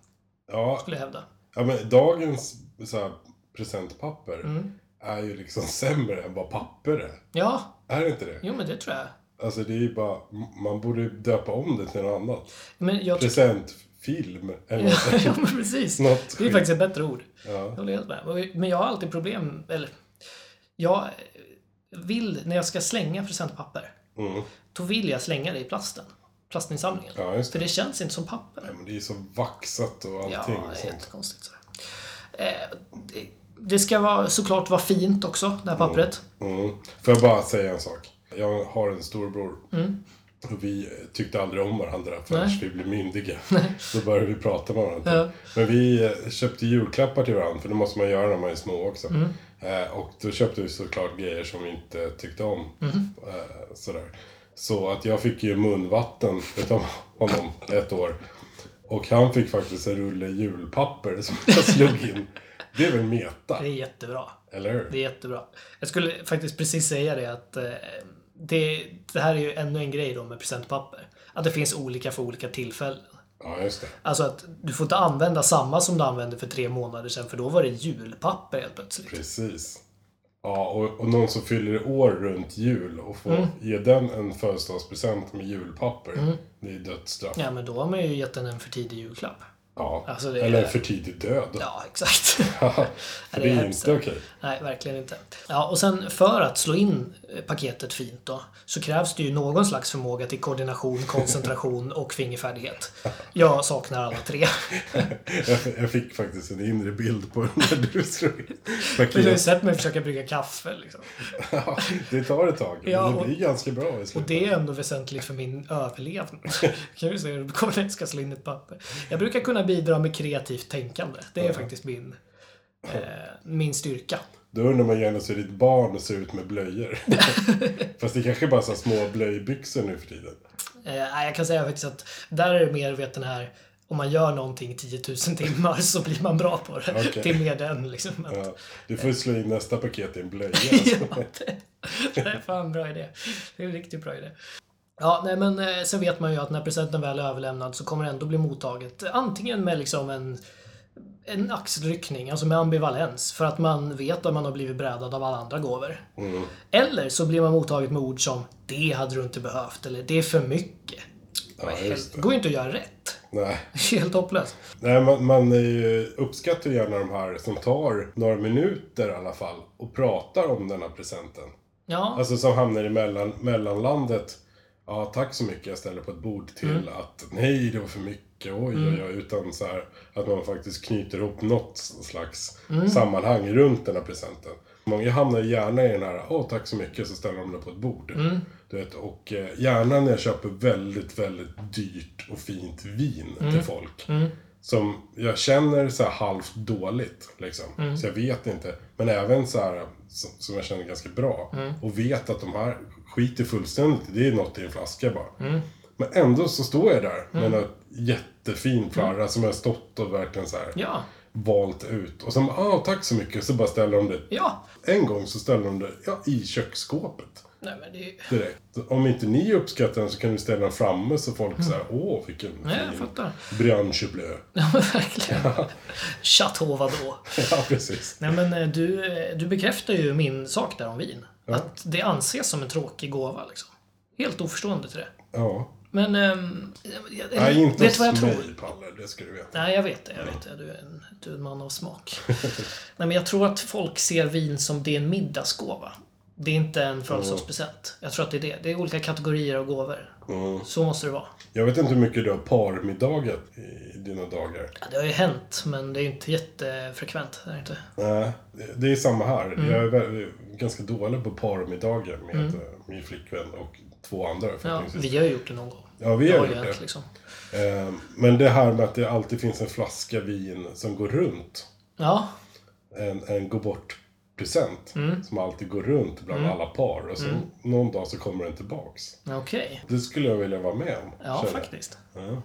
Speaker 1: Ja,
Speaker 2: skulle jag hävda.
Speaker 1: ja men dagens så här, presentpapper
Speaker 2: Mm.
Speaker 1: är ju liksom sämre än vad papper är.
Speaker 2: Ja,
Speaker 1: Är det inte det?
Speaker 2: jo men det tror jag.
Speaker 1: Alltså det är ju bara, man borde döpa om det till något annat.
Speaker 2: Men jag tror...
Speaker 1: Presentfilm eller något.
Speaker 2: ja, men precis.
Speaker 1: Något
Speaker 2: Det är
Speaker 1: skit.
Speaker 2: faktiskt ett bättre ord. Jag
Speaker 1: Ja.
Speaker 2: håller helt med. Och- Men jag har alltid problem, eller... Jag vill, när jag ska slänga presentpapper,
Speaker 1: Mm.
Speaker 2: då vill jag slänga det i plasten. Plastinsamlingen.
Speaker 1: ja, just
Speaker 2: För
Speaker 1: det.
Speaker 2: det känns inte som papper.
Speaker 1: Ja, men det är ju så vaxat och
Speaker 2: Ja,
Speaker 1: allting. och
Speaker 2: det är
Speaker 1: sånt.
Speaker 2: jättekonstigt. Så. Eh, det, det ska vara, såklart vara fint också, det här pappret.
Speaker 1: Mm. Får jag bara säga en sak? Jag har en storbror. Och vi tyckte aldrig om varandra förrän
Speaker 2: Mm. Nej.
Speaker 1: vi blev myndiga. Då började vi prata med varandra.
Speaker 2: Ja.
Speaker 1: Men vi eh, köpte julklappar till varandra, för det måste man göra när man är små också.
Speaker 2: Mm.
Speaker 1: Eh, och då köpte vi såklart grejer som vi inte tyckte om.
Speaker 2: Mm.
Speaker 1: Eh, sådär. Så att jag fick ju munvatten utav honom ett år. Och han fick faktiskt en rulle julpapper som jag slog in. Det är väl meta,
Speaker 2: Det är jättebra.
Speaker 1: eller hur?
Speaker 2: Det är jättebra. Jag skulle faktiskt precis säga det att eh, det, det här är ju ännu en grej då med presentpapper. Att det finns olika för olika tillfällen.
Speaker 1: Ja, just det.
Speaker 2: Alltså att du får inte använda samma som du använde för tre månader sedan för då var det julpapper helt plötsligt.
Speaker 1: Precis. Ja, och, och någon som fyller år runt jul och får
Speaker 2: Mm.
Speaker 1: ge den en födelsedagspresent med julpapper. Det är dödsstraff. Ja.
Speaker 2: Ja men då har man ju gett den en för tidig julklapp. Alltså, det är-
Speaker 1: Eller för tidig död.
Speaker 2: Ja, exakt.
Speaker 1: för
Speaker 2: det
Speaker 1: det
Speaker 2: är
Speaker 1: är
Speaker 2: hemskt.
Speaker 1: inte okej.
Speaker 2: Nej, verkligen inte. Ja, och sen för att slå in eh, paketet fint då, så krävs det ju någon slags förmåga till koordination, koncentration och fingerfärdighet. Jag saknar alla tre.
Speaker 1: Jag, f- jag fick faktiskt en inre bild på den där du slog in.
Speaker 2: Du har ju
Speaker 1: Paket.
Speaker 2: sett mig försöka brygga kaffe liksom.
Speaker 1: Ja, det tar ett tag, men
Speaker 2: Ja,
Speaker 1: det
Speaker 2: och-
Speaker 1: blir ganska bra i
Speaker 2: Och
Speaker 1: slutet.
Speaker 2: det är ändå väsentligt för min överlevnad. kan ju säga hur det kommer när jag ska slå in ett papper. Jag brukar kunna bidra med kreativt tänkande. Det är faktiskt min, eh, min styrka.
Speaker 1: Då undrar man gärna hur ditt barn ser ut med blöjor. Fast det kanske bara är så här små blöjbyxor nu för tiden.
Speaker 2: Eh, nej, jag kan säga faktiskt att där är det mer vet den här om man gör någonting 10 000 timmar så blir man bra på det.
Speaker 1: Okej.
Speaker 2: Det är mer den liksom. Att,
Speaker 1: Ja, du får ju slå in nästa paket i en blöja.
Speaker 2: ja, det, det är fan en bra idé. Det är en riktigt bra idé. Ja, nej men eh, sen vet man ju att när presenten väl är överlämnad så kommer det ändå bli mottaget. Antingen med liksom en, en axelryckning, alltså med ambivalens. För att man vet att man har blivit brädad av alla andra gåvor. Eller så blir man mottaget med ord som “Det hade du inte behövt” eller “Det är för mycket”.
Speaker 1: Ja, just
Speaker 2: Det
Speaker 1: det.
Speaker 2: går ju inte att göra rätt.
Speaker 1: Nej.
Speaker 2: Helt hopplöst.
Speaker 1: Nej, man, man är ju, uppskattar ju gärna de här som tar några minuter i alla fall och pratar om den här presenten.
Speaker 2: Ja,
Speaker 1: Alltså som hamnar i mellan, mellanlandet. Ja, tack så mycket istället på ett bord till att nej, det var för mycket, oj, oj, oj. Utan så här att man faktiskt knyter ihop något slags sammanhang runt den här presenten. Många hamnar ju gärna i den här, åh, tack så mycket, så ställer de det på ett bord. Du vet, och eh, gärna när jag köper väldigt, väldigt dyrt och fint vin till folk. Som jag känner så här halvt dåligt, liksom.
Speaker 2: Mm.
Speaker 1: Så jag vet inte. Men även så här som, som jag
Speaker 2: Mm. Mm.
Speaker 1: känner ganska bra. Och vet att de här skiter fullständigt i. Det är något i en flaska bara. Men ändå så står jag där med en jättefin flarra som jag har stått och verkligen så här
Speaker 2: Mm. Ja.
Speaker 1: valt ut. Och sen bara, ah, tack så mycket. Så bara ställer de det.
Speaker 2: Ja.
Speaker 1: En gång så ställer de det ja, i köksskåpet
Speaker 2: Nej men det är ju...
Speaker 1: direkt. Om inte ni uppskattar den så kan du ställa den framme så folk så här, åh vilken
Speaker 2: Nej, Mm. jag
Speaker 1: fin
Speaker 2: fattar.
Speaker 1: branche bleu.
Speaker 2: Ja, men verkligen. Chateau vadå?
Speaker 1: Ja, precis.
Speaker 2: Nej men eh, du, eh, du bekräftar ju min sak där om vin. Att det anses som en tråkig gåva liksom. Helt oförstående till det.
Speaker 1: Ja.
Speaker 2: Men... ehm, jag-
Speaker 1: Nej, inte
Speaker 2: vet du vad jag
Speaker 1: hos
Speaker 2: tror?
Speaker 1: mig, Palle. Det ska du veta.
Speaker 2: Nej, jag vet det. Jag vet det. Du är en, du är en man av smak. Nej, men jag tror att folk ser vin som det är en middagsgåva. Det är inte en
Speaker 1: Mm.
Speaker 2: födelsedagspresent. Jag tror att det är det. Det är olika kategorier av gåvor. Så måste det vara.
Speaker 1: Jag vet inte hur mycket du har parmiddagat i dina dagar.
Speaker 2: Ja, det har ju hänt, men det är inte jättefrekvent. Det är inte.
Speaker 1: Nej, det- det är samma här.
Speaker 2: Mm.
Speaker 1: Jag är väl- ganska dålig på parmiddagar med eh, min flickvän och två andra
Speaker 2: Ja,
Speaker 1: förhoppningsvis.
Speaker 2: vi har ju gjort det någon gång.
Speaker 1: Ja, vi
Speaker 2: Det
Speaker 1: har
Speaker 2: har ju
Speaker 1: gjort det.
Speaker 2: hänt liksom.
Speaker 1: Eh, Men det här med att det alltid finns en flaska vin som går runt.
Speaker 2: Ja,
Speaker 1: En, en gå bort-present.
Speaker 2: Mm.
Speaker 1: Som alltid går runt bland alla par. Och så någon dag så kommer den tillbaks.
Speaker 2: okej.
Speaker 1: Det skulle jag vilja vara med om.
Speaker 2: Ja,
Speaker 1: känner jag.
Speaker 2: faktiskt.
Speaker 1: Ja.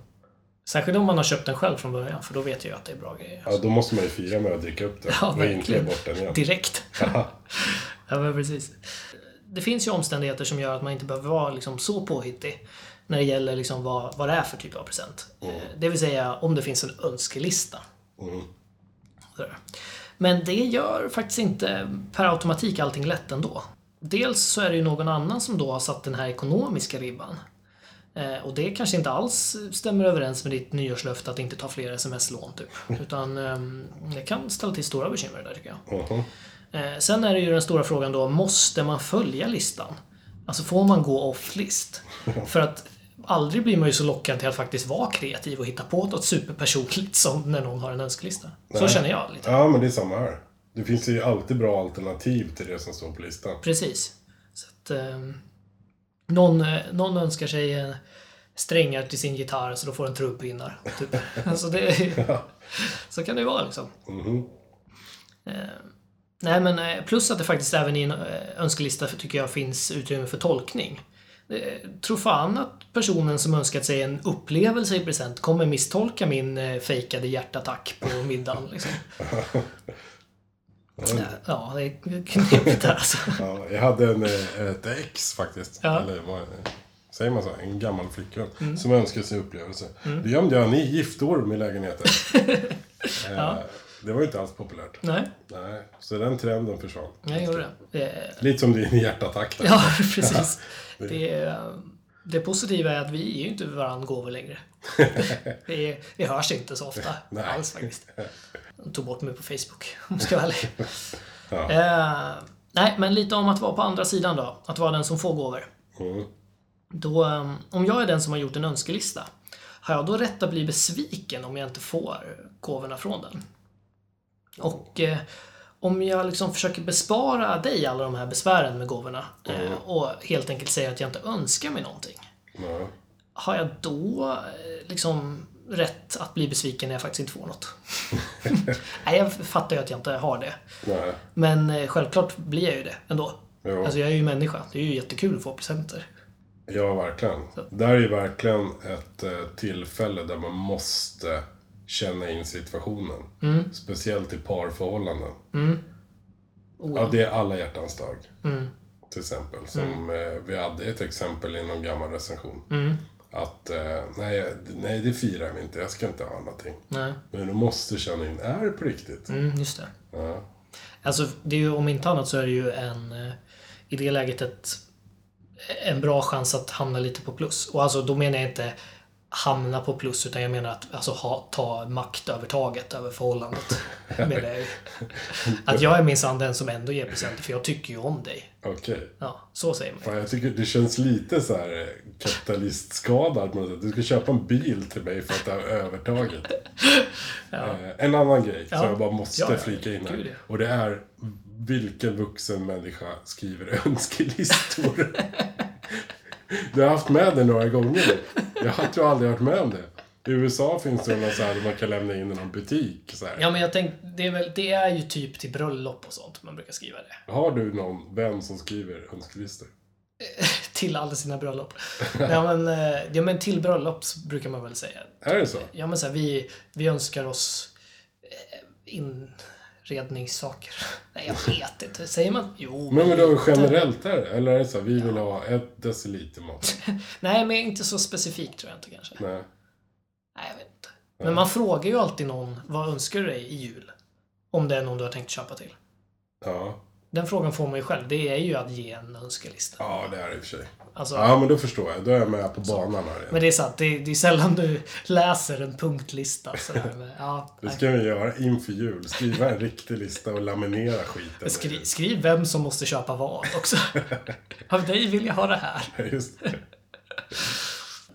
Speaker 2: Särskilt om man har köpt den själv från början, för då vet jag ju att det är bra grejer.
Speaker 1: Ja, då måste man ju fira med att dricka upp den.
Speaker 2: Ja,
Speaker 1: och inte ge
Speaker 2: verkligen.
Speaker 1: bort den igen.
Speaker 2: Direkt. ja, men precis. Det finns ju omständigheter som gör att man inte behöver vara liksom så påhittig när det gäller liksom vad, vad det är för typ av present. Eh, Det vill säga om det finns en önskelista. Sådär. Men det gör faktiskt inte per automatik allting lätt ändå. Dels så är det ju någon annan som då har satt den här ekonomiska ribban. Eh, Och det kanske inte alls stämmer överens med ditt nyårslöfte att inte ta fler sms-lån typ. Utan ehm, det kan ställa till stora bekymmer där tycker jag.
Speaker 1: Mhm.
Speaker 2: Eh, Sen är det ju den stora frågan då, måste man följa listan? Alltså får man gå off-list? För att aldrig blir man ju så lockad till att faktiskt vara kreativ och hitta på något superpersonligt som när någon har en önskelista. Så
Speaker 1: Nej.
Speaker 2: känner jag lite.
Speaker 1: Ja, men det är samma här. Det finns ju alltid bra alternativ till det som står på listan.
Speaker 2: Precis. Så att, eh, någon, eh, någon önskar sig eh, strängar till sin gitarr så då får den trumpinnar. Typ. alltså det, är- så kan det ju vara liksom. Ehm,
Speaker 1: Mhm.
Speaker 2: Nej, men eh, plus att det faktiskt även i en eh, önskelista för- tycker jag finns utrymme för tolkning. Eh, Tror fan att personen som önskat sig en upplevelse i present kommer misstolka min eh, fejkade hjärtattack på middagen. Liksom. Ja, det är knepigt där alltså.
Speaker 1: Ja, jag hade en, eh, ett ex faktiskt.
Speaker 2: Ja. Mm.
Speaker 1: Eller vad eh, säger man så? En gammal flickvän. Som önskade sig upplevelse. Då gömde jag en giftorm i lägenheten. Eh, Det var ju inte alls populärt.
Speaker 2: Nej,
Speaker 1: Nej, så den trenden försvann.
Speaker 2: jag gjorde det. Eh,
Speaker 1: Lite som din hjärtattack där.
Speaker 2: Ja, precis. Det, är- det positiva är att vi ger ju inte varandra gåvor längre. Vi, är- vi hörs inte så ofta
Speaker 1: Nej.
Speaker 2: alls faktiskt. De tog bort mig på Facebook, om jag ska vara ärlig.
Speaker 1: Ja.
Speaker 2: Eh, nej, men lite om att vara på andra sidan då. Att vara den som får gåvor.
Speaker 1: Mm.
Speaker 2: Då, eh, om jag är den som har gjort en önskelista, har jag då rätt att bli besviken om jag inte får gåvorna från den? Och eh, om jag liksom försöker bespara dig alla de här besvären med gåvorna eh, och helt enkelt säger att jag inte önskar mig någonting.
Speaker 1: Ja.
Speaker 2: Har jag då eh, liksom rätt att bli besviken när jag faktiskt inte får något? Nej, jag fattar ju att jag inte har det.
Speaker 1: Nej.
Speaker 2: Men eh, självklart blir jag ju det ändå.
Speaker 1: Jo.
Speaker 2: Alltså jag är ju människa. Det är ju jättekul att få presenter.
Speaker 1: Ja, verkligen. Det här är ju verkligen ett eh, tillfälle där man måste känna in situationen. Speciellt i parförhållanden.
Speaker 2: Oh,
Speaker 1: Ja, det är alla hjärtans dag. Till exempel. Som eh, vi hade ett exempel i någon gammal recension. Att eh, nej, nej, det firar vi inte. Jag ska inte ha någonting.
Speaker 2: Nej,
Speaker 1: Men du måste känna in, är det på riktigt?
Speaker 2: mm, just det.
Speaker 1: Ja.
Speaker 2: Alltså, det är ju, om inte annat så är det ju en, eh, i det läget ett, en bra chans att hamna lite på plus. Och alltså, då menar jag inte hamna på plus, utan jag menar att alltså, ha, ta maktövertaget över förhållandet. med dig. Att jag är minsann den som ändå ger presenter, för jag tycker ju om dig.
Speaker 1: Okej.
Speaker 2: Ja, så säger man.
Speaker 1: Fan, jag tycker det känns lite så här eh, kapitalistskadad. på något sätt. Du ska köpa en bil till mig för att det har övertaget. Eh, En annan grej
Speaker 2: Ja.
Speaker 1: som jag bara måste
Speaker 2: Ja, ja.
Speaker 1: flika in här.
Speaker 2: Gud, ja.
Speaker 1: Och det är vilken vuxen människa skriver önskelistor? du har haft med det några gånger nu. Jag har tror jag aldrig hört med om det. I USA finns det någon så här där man kan lämna in i någon butik. Så här.
Speaker 2: Ja, men jag tänkte, det är, väl, det är ju typ till bröllop och sånt man brukar skriva det.
Speaker 1: Har du någon vän som skriver önskelistor?
Speaker 2: till alla sina bröllop. Nej, men, eh, ja, men till bröllop så brukar man väl säga.
Speaker 1: Är det så?
Speaker 2: Ja, men så här, vi, vi önskar oss eh, inredningssaker. Nej, jag vet inte. Säger man? Jo.
Speaker 1: Men, men då generellt är det? Eller är det så här, vi vill ha ett deciliter mat?
Speaker 2: Nej, men inte så specifikt tror jag inte kanske.
Speaker 1: Nej.
Speaker 2: Nej, jag vet inte. Men man frågar ju alltid någon, vad önskar du dig i jul? Om det är någon du har tänkt köpa till.
Speaker 1: Ja.
Speaker 2: Den frågan får man ju själv. Det är ju att ge en önskelista.
Speaker 1: Ja, det är det i och för sig.
Speaker 2: Alltså,
Speaker 1: Ja, men då förstår jag. Då är jag med på banan här igen.
Speaker 2: Men det är sant, det, det är sällan du läser en punktlista. Sådär. Men, ja,
Speaker 1: Det
Speaker 2: nej.
Speaker 1: ska vi göra inför jul. Skriva en riktig lista och laminera skiten.
Speaker 2: Skri, skriv vem som måste köpa vad också. Av dig vill jag ha det här.
Speaker 1: Just det.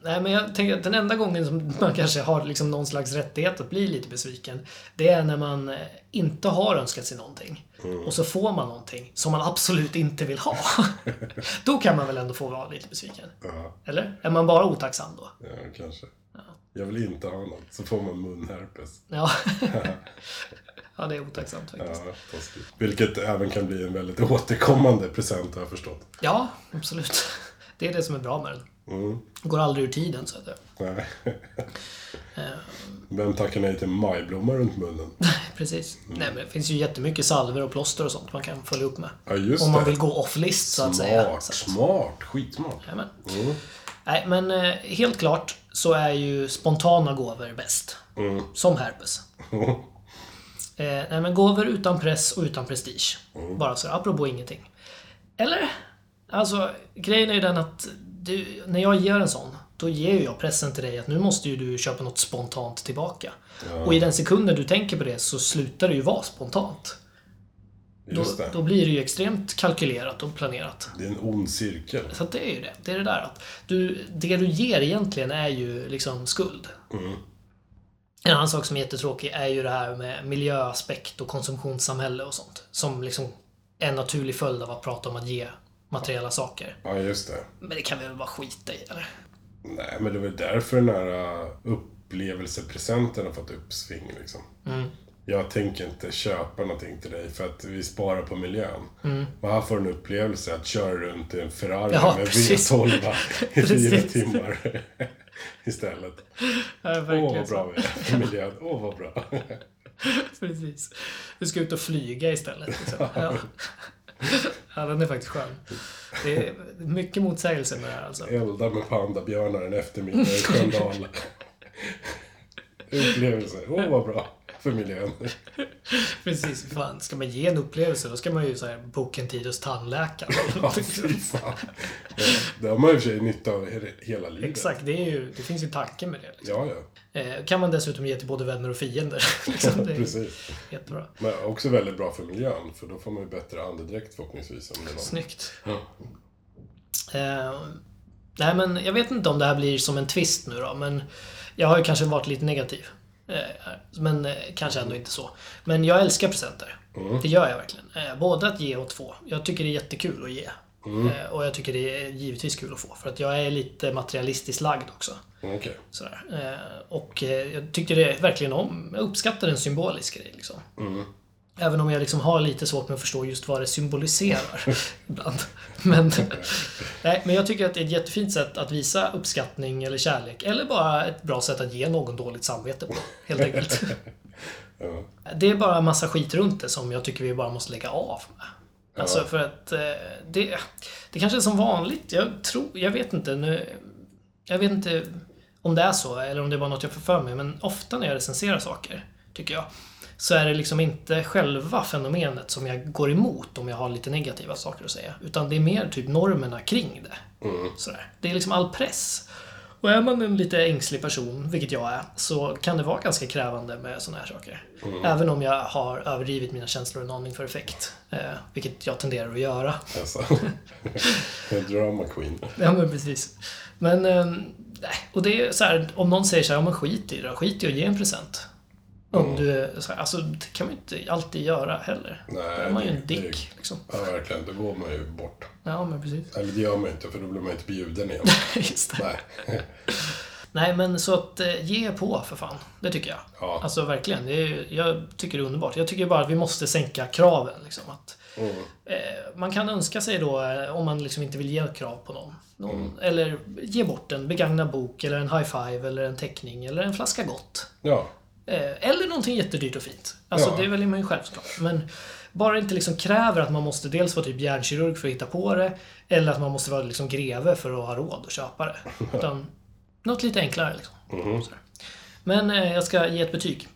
Speaker 2: Nej, men jag tänker att den enda gången som man kanske har liksom någon slags rättighet att bli lite besviken, det är när man eh, inte har önskat sig någonting.
Speaker 1: Mm.
Speaker 2: Och så får man någonting som man absolut inte vill ha. då kan man väl ändå få vara lite besviken?
Speaker 1: Ja,
Speaker 2: Eller? Är man bara otacksam då?
Speaker 1: ja kanske. Jag vill inte ha något. Så får man munherpes.
Speaker 2: Ja, ja det är otacksamt faktiskt.
Speaker 1: Ja, taskigt. Vilket även kan bli en väldigt återkommande present har jag förstått.
Speaker 2: Ja, absolut. Det är det som är bra med den.
Speaker 1: Mm.
Speaker 2: Går aldrig ur tiden så att säga.
Speaker 1: Nej.
Speaker 2: Eh.
Speaker 1: Vem tackar nej till majblomma runt munnen?
Speaker 2: Precis.
Speaker 1: Mm.
Speaker 2: Nej men det finns ju jättemycket salver och plåster och sånt man kan följa upp med.
Speaker 1: Ja, just
Speaker 2: Om man
Speaker 1: det.
Speaker 2: vill gå off-list så att säga.
Speaker 1: Smart,
Speaker 2: Så att,
Speaker 1: smart. Skitsmart.
Speaker 2: Jajamän.
Speaker 1: Mm.
Speaker 2: Nej men eh, helt klart så är ju spontana gåvor bäst.
Speaker 1: Mm.
Speaker 2: Som herpes. Eh, nej men gåvor utan press och utan prestige.
Speaker 1: Mm.
Speaker 2: Bara så apropå ingenting. Eller? Alltså grejen är ju den att du, när jag ger en sån, då ger ju jag pressen till dig att nu måste ju du köpa något spontant tillbaka.
Speaker 1: Mm.
Speaker 2: Och i den sekunden du tänker på det så slutar det ju vara spontant. Då,
Speaker 1: Just det.
Speaker 2: då blir det ju extremt kalkylerat och planerat.
Speaker 1: Det är en ond cirkel.
Speaker 2: Så att det är ju det. Det är det där att du, det du ger egentligen är ju liksom skuld.
Speaker 1: Mm.
Speaker 2: En annan sak som är jättetråkig är ju det här med miljöaspekt och konsumtionssamhälle och sånt. Som liksom är en naturlig följd av att prata om att ge materiella saker.
Speaker 1: Ja, just det.
Speaker 2: Men det kan vi väl bara skita i eller?
Speaker 1: Nej, men det var därför den här äh, upplevelsepresenten har fått uppsving liksom.
Speaker 2: Mm.
Speaker 1: Jag tänker inte köpa någonting till dig för att vi sparar på miljön. Och här får du en upplevelse att köra runt i en Ferrari
Speaker 2: Mm. Ja,
Speaker 1: med
Speaker 2: precis.
Speaker 1: V12 i fyra
Speaker 2: Precis.
Speaker 1: timmar istället.
Speaker 2: Ja,
Speaker 1: Åh, vad bra vi är för miljön. Åh, vad bra.
Speaker 2: Precis. Du ska ut och flyga istället. Liksom. Ja. ja, den är faktiskt skön. Det är mycket motsägelser med det här alltså.
Speaker 1: Elda med pandabjörnar en eftermiddag i Sköndal. Upplevelse. Åh, vad bra för miljön.
Speaker 2: Precis, fan. Ska man ge en upplevelse då ska man ju så här, boka en tid hos tandläkaren.
Speaker 1: Ja, fy fan. Ja, Det har man i och för sig nytta av he- hela livet.
Speaker 2: Exakt, det, är ju, det finns ju tanke med det. Liksom.
Speaker 1: Ja, ja.
Speaker 2: Eh, kan man dessutom ge till både vänner och fiender. liksom, det är
Speaker 1: Precis.
Speaker 2: jättebra.
Speaker 1: Men också väldigt bra för miljön, för då får man ju bättre andedräkt förhoppningsvis. Om det är någon.
Speaker 2: Snyggt. Eh, nej, men jag vet inte om det här blir som en twist nu då, men jag har ju kanske varit lite negativ. Eh, men eh, kanske ändå inte så. Men jag älskar presenter. Det gör jag verkligen. Eh, både att ge och få. Jag tycker det är jättekul att ge. Eh, och jag tycker det är givetvis kul att få. För att jag är lite materialistiskt lagd också.
Speaker 1: Okej.
Speaker 2: Sådär. Eh, Och eh, jag tycker det verkligen om, jag uppskattar en symbolisk grej liksom. Även om jag liksom har lite svårt med att förstå just vad det symboliserar ibland. Men, nej, men jag tycker att det är ett jättefint sätt att visa uppskattning eller kärlek. Eller bara ett bra sätt att ge någon dåligt samvete på, helt enkelt.
Speaker 1: Ja.
Speaker 2: Det är bara en massa skit runt det som jag tycker vi bara måste lägga av med. Alltså för att eh, det, det kanske är som vanligt. Jag tror, jag vet inte nu. Jag vet inte om det är så eller om det är bara något jag får för mig. Men ofta när jag recenserar saker, tycker jag, så är det liksom inte själva fenomenet som jag går emot om jag har lite negativa saker att säga. Utan det är mer typ normerna kring det. Sådär. Det är liksom all press. Och är man en lite ängslig person, vilket jag är, så kan det vara ganska krävande med sådana här saker. Även om jag har överdrivit mina känslor en aning för effekt. Eh, vilket jag tenderar att göra.
Speaker 1: Alltså. En drama queen.
Speaker 2: Ja men precis. Men, eh, nej. och det är så här, om någon säger så här, ja men skit i det då, skit i att ge en present. Om
Speaker 1: Mm.
Speaker 2: du, är så här, alltså det kan man ju inte alltid göra heller.
Speaker 1: Nej,
Speaker 2: då är man ju en
Speaker 1: det- det-
Speaker 2: dick liksom.
Speaker 1: Ja, verkligen. Då går man ju bort.
Speaker 2: Ja men precis.
Speaker 1: Eller det gör man ju inte, för då blir man ju inte bjuden igen.
Speaker 2: Just det.
Speaker 1: Nej.
Speaker 2: Nej men så att eh, ge på för fan. Det tycker jag.
Speaker 1: Ja.
Speaker 2: Alltså verkligen. Det är, jag tycker det är underbart. Jag tycker bara att vi måste sänka kraven. Liksom, att Eh, Man kan önska sig då, eh, om man liksom inte vill ge krav på någon, någon
Speaker 1: Mm.
Speaker 2: eller ge bort en begagnad bok, eller en high-five, eller en teckning, eller en flaska gott.
Speaker 1: Ja.
Speaker 2: Eh, Eller någonting jättedyrt och fint. Alltså
Speaker 1: Ja.
Speaker 2: det väljer man ju själv såklart. Men bara det inte liksom kräver att man måste dels vara typ hjärnkirurg för att hitta på det. Eller att man måste vara liksom greve för att ha råd att köpa det. Utan något lite enklare liksom. Sådär. Men eh, jag ska ge ett betyg.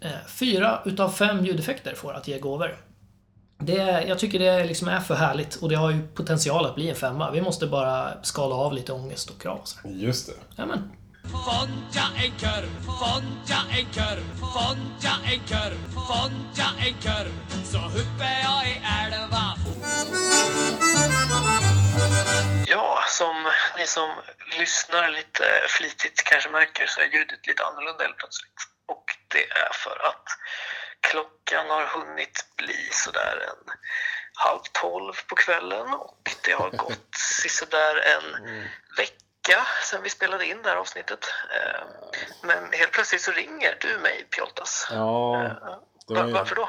Speaker 2: Eh, fyra utav fem ljudeffekter får att ge gåvor. Det, är- jag tycker det liksom är för härligt och det har ju potential att bli en femma. Vi måste bara skala av lite ångest och krav. och sådär.
Speaker 1: Just det.
Speaker 2: Jajamän.
Speaker 3: Fonja en kör, fonja en kör, fonja en kör, fonja en kör. Så huppe jag i älva.
Speaker 6: Ja, som ni som lyssnar lite flitigt kanske märker så är ljudet lite annorlunda helt plötsligt. Och det är för att klockan har hunnit bli sådär en halv tolv på kvällen och det har gått sådär en
Speaker 1: Mm.
Speaker 6: vecka sedan vi spelade in det här avsnittet. Eh, Men helt plötsligt så ringer du mig, Pjoltas.
Speaker 1: Ja. Det
Speaker 6: Va-
Speaker 1: var ju,
Speaker 6: Varför då?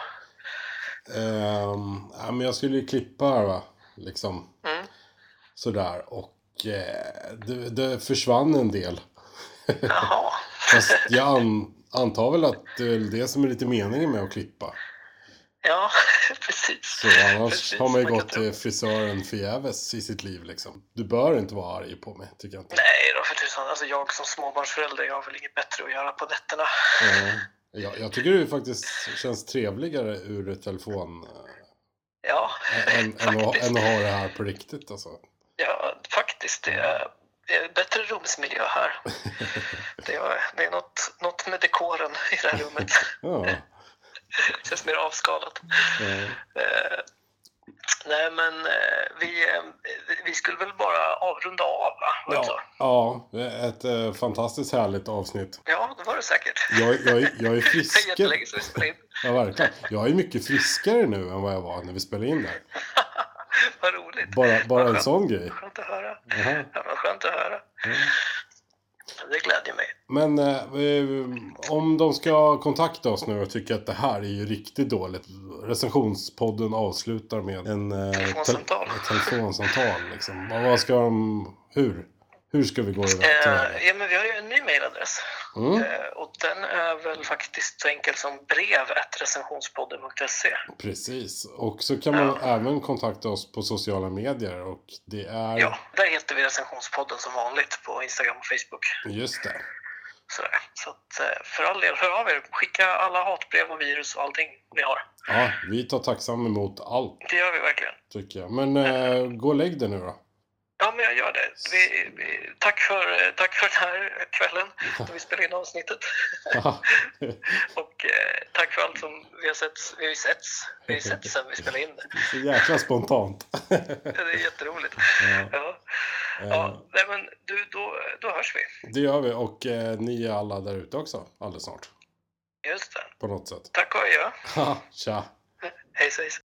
Speaker 1: Ehm, ja, men jag skulle ju klippa här va. Liksom.
Speaker 6: Mm.
Speaker 1: Sådär. Och eh, det, det försvann en del.
Speaker 6: Jaha.
Speaker 1: Fast jag an, antar väl att det är väl det som är lite meningen med att klippa.
Speaker 6: Ja, precis.
Speaker 1: Så annars
Speaker 6: Precis,
Speaker 1: har man ju
Speaker 6: kan
Speaker 1: gått
Speaker 6: tro-
Speaker 1: till frisören förgäves i sitt liv liksom. Du bör inte vara arg på mig, tycker jag inte.
Speaker 6: Nej då för tusan, alltså jag som småbarnsförälder, jag har väl inget bättre att göra på nätterna.
Speaker 1: Eh, Jag, jag tycker det faktiskt känns trevligare ur ett telefon eh,
Speaker 6: Ja,
Speaker 1: än, än, att, ha- än att ha det här på riktigt alltså.
Speaker 6: ja faktiskt. Det är, det är bättre rumsmiljö här. Det är, det är något, något med dekoren i det här rummet.
Speaker 1: Ja.
Speaker 6: Det känns mer avskalat.
Speaker 1: eh,
Speaker 6: Eh, nej men eh, vi, eh, vi skulle väl bara avrunda av va? Var det så?
Speaker 1: Ja, ja, ett eh, fantastiskt härligt avsnitt.
Speaker 6: ja, det var det säkert.
Speaker 1: Jag, jag, jag är
Speaker 6: Det är
Speaker 1: friskare.
Speaker 6: jättelänge sedan vi spelade in.
Speaker 1: Ja, verkligen. Jag är mycket friskare nu än vad jag var när vi spelade in där.
Speaker 6: Vad roligt.
Speaker 1: Bara, bara en
Speaker 6: Skönt-
Speaker 1: sån grej.
Speaker 6: Skönt att höra.
Speaker 1: Jaha.
Speaker 6: Ja, men skönt att höra. Det glädjer mig.
Speaker 1: Men eh, eh, om de ska kontakta oss nu och tycker att det här är ju riktigt dåligt. Recensionspodden avslutar med en, eh,
Speaker 6: Telefonsamtal.
Speaker 1: tel- ett telefonsamtal. Liksom. Vad vad ska de... Hur? Hur ska vi gå iväg?
Speaker 6: Eh, ja, men vi har ju en ny mailadress.
Speaker 1: Mm,
Speaker 6: Eh, och den är väl faktiskt så enkel som brev.recensionspodden.se.
Speaker 1: precis. Och så kan man även kontakta oss på sociala medier. Och det är...
Speaker 6: Ja, där heter vi Recensionspodden som vanligt på Instagram och Facebook.
Speaker 1: Just det.
Speaker 6: Sådär. Så att, eh, för all del, hör av er. Skicka alla hatbrev och virus och allting ni har.
Speaker 1: Ja, vi tar tacksam emot allt
Speaker 6: Det gör vi verkligen.
Speaker 1: tycker jag. Men eh, gå och lägg dig nu då.
Speaker 6: Ja, men jag gör det. Vi, vi, tack, för, eh, tack för den här kvällen då vi spelade in avsnittet. Och eh, tack för allt som vi har sett. Vi har ju setts. Vi har ju setts sen vi spelade in det.
Speaker 1: Så jäkla spontant.
Speaker 6: Ja, Det är jätteroligt.
Speaker 1: Ja.
Speaker 6: Ja.
Speaker 1: Eh,
Speaker 6: Ja, nej men du, då, då hörs vi.
Speaker 1: Det gör vi och eh, ni är alla där ute också alldeles snart.
Speaker 6: Just det.
Speaker 1: På något sätt.
Speaker 6: Tack och adjö.
Speaker 1: Ha, Tja!
Speaker 6: Hej svejs.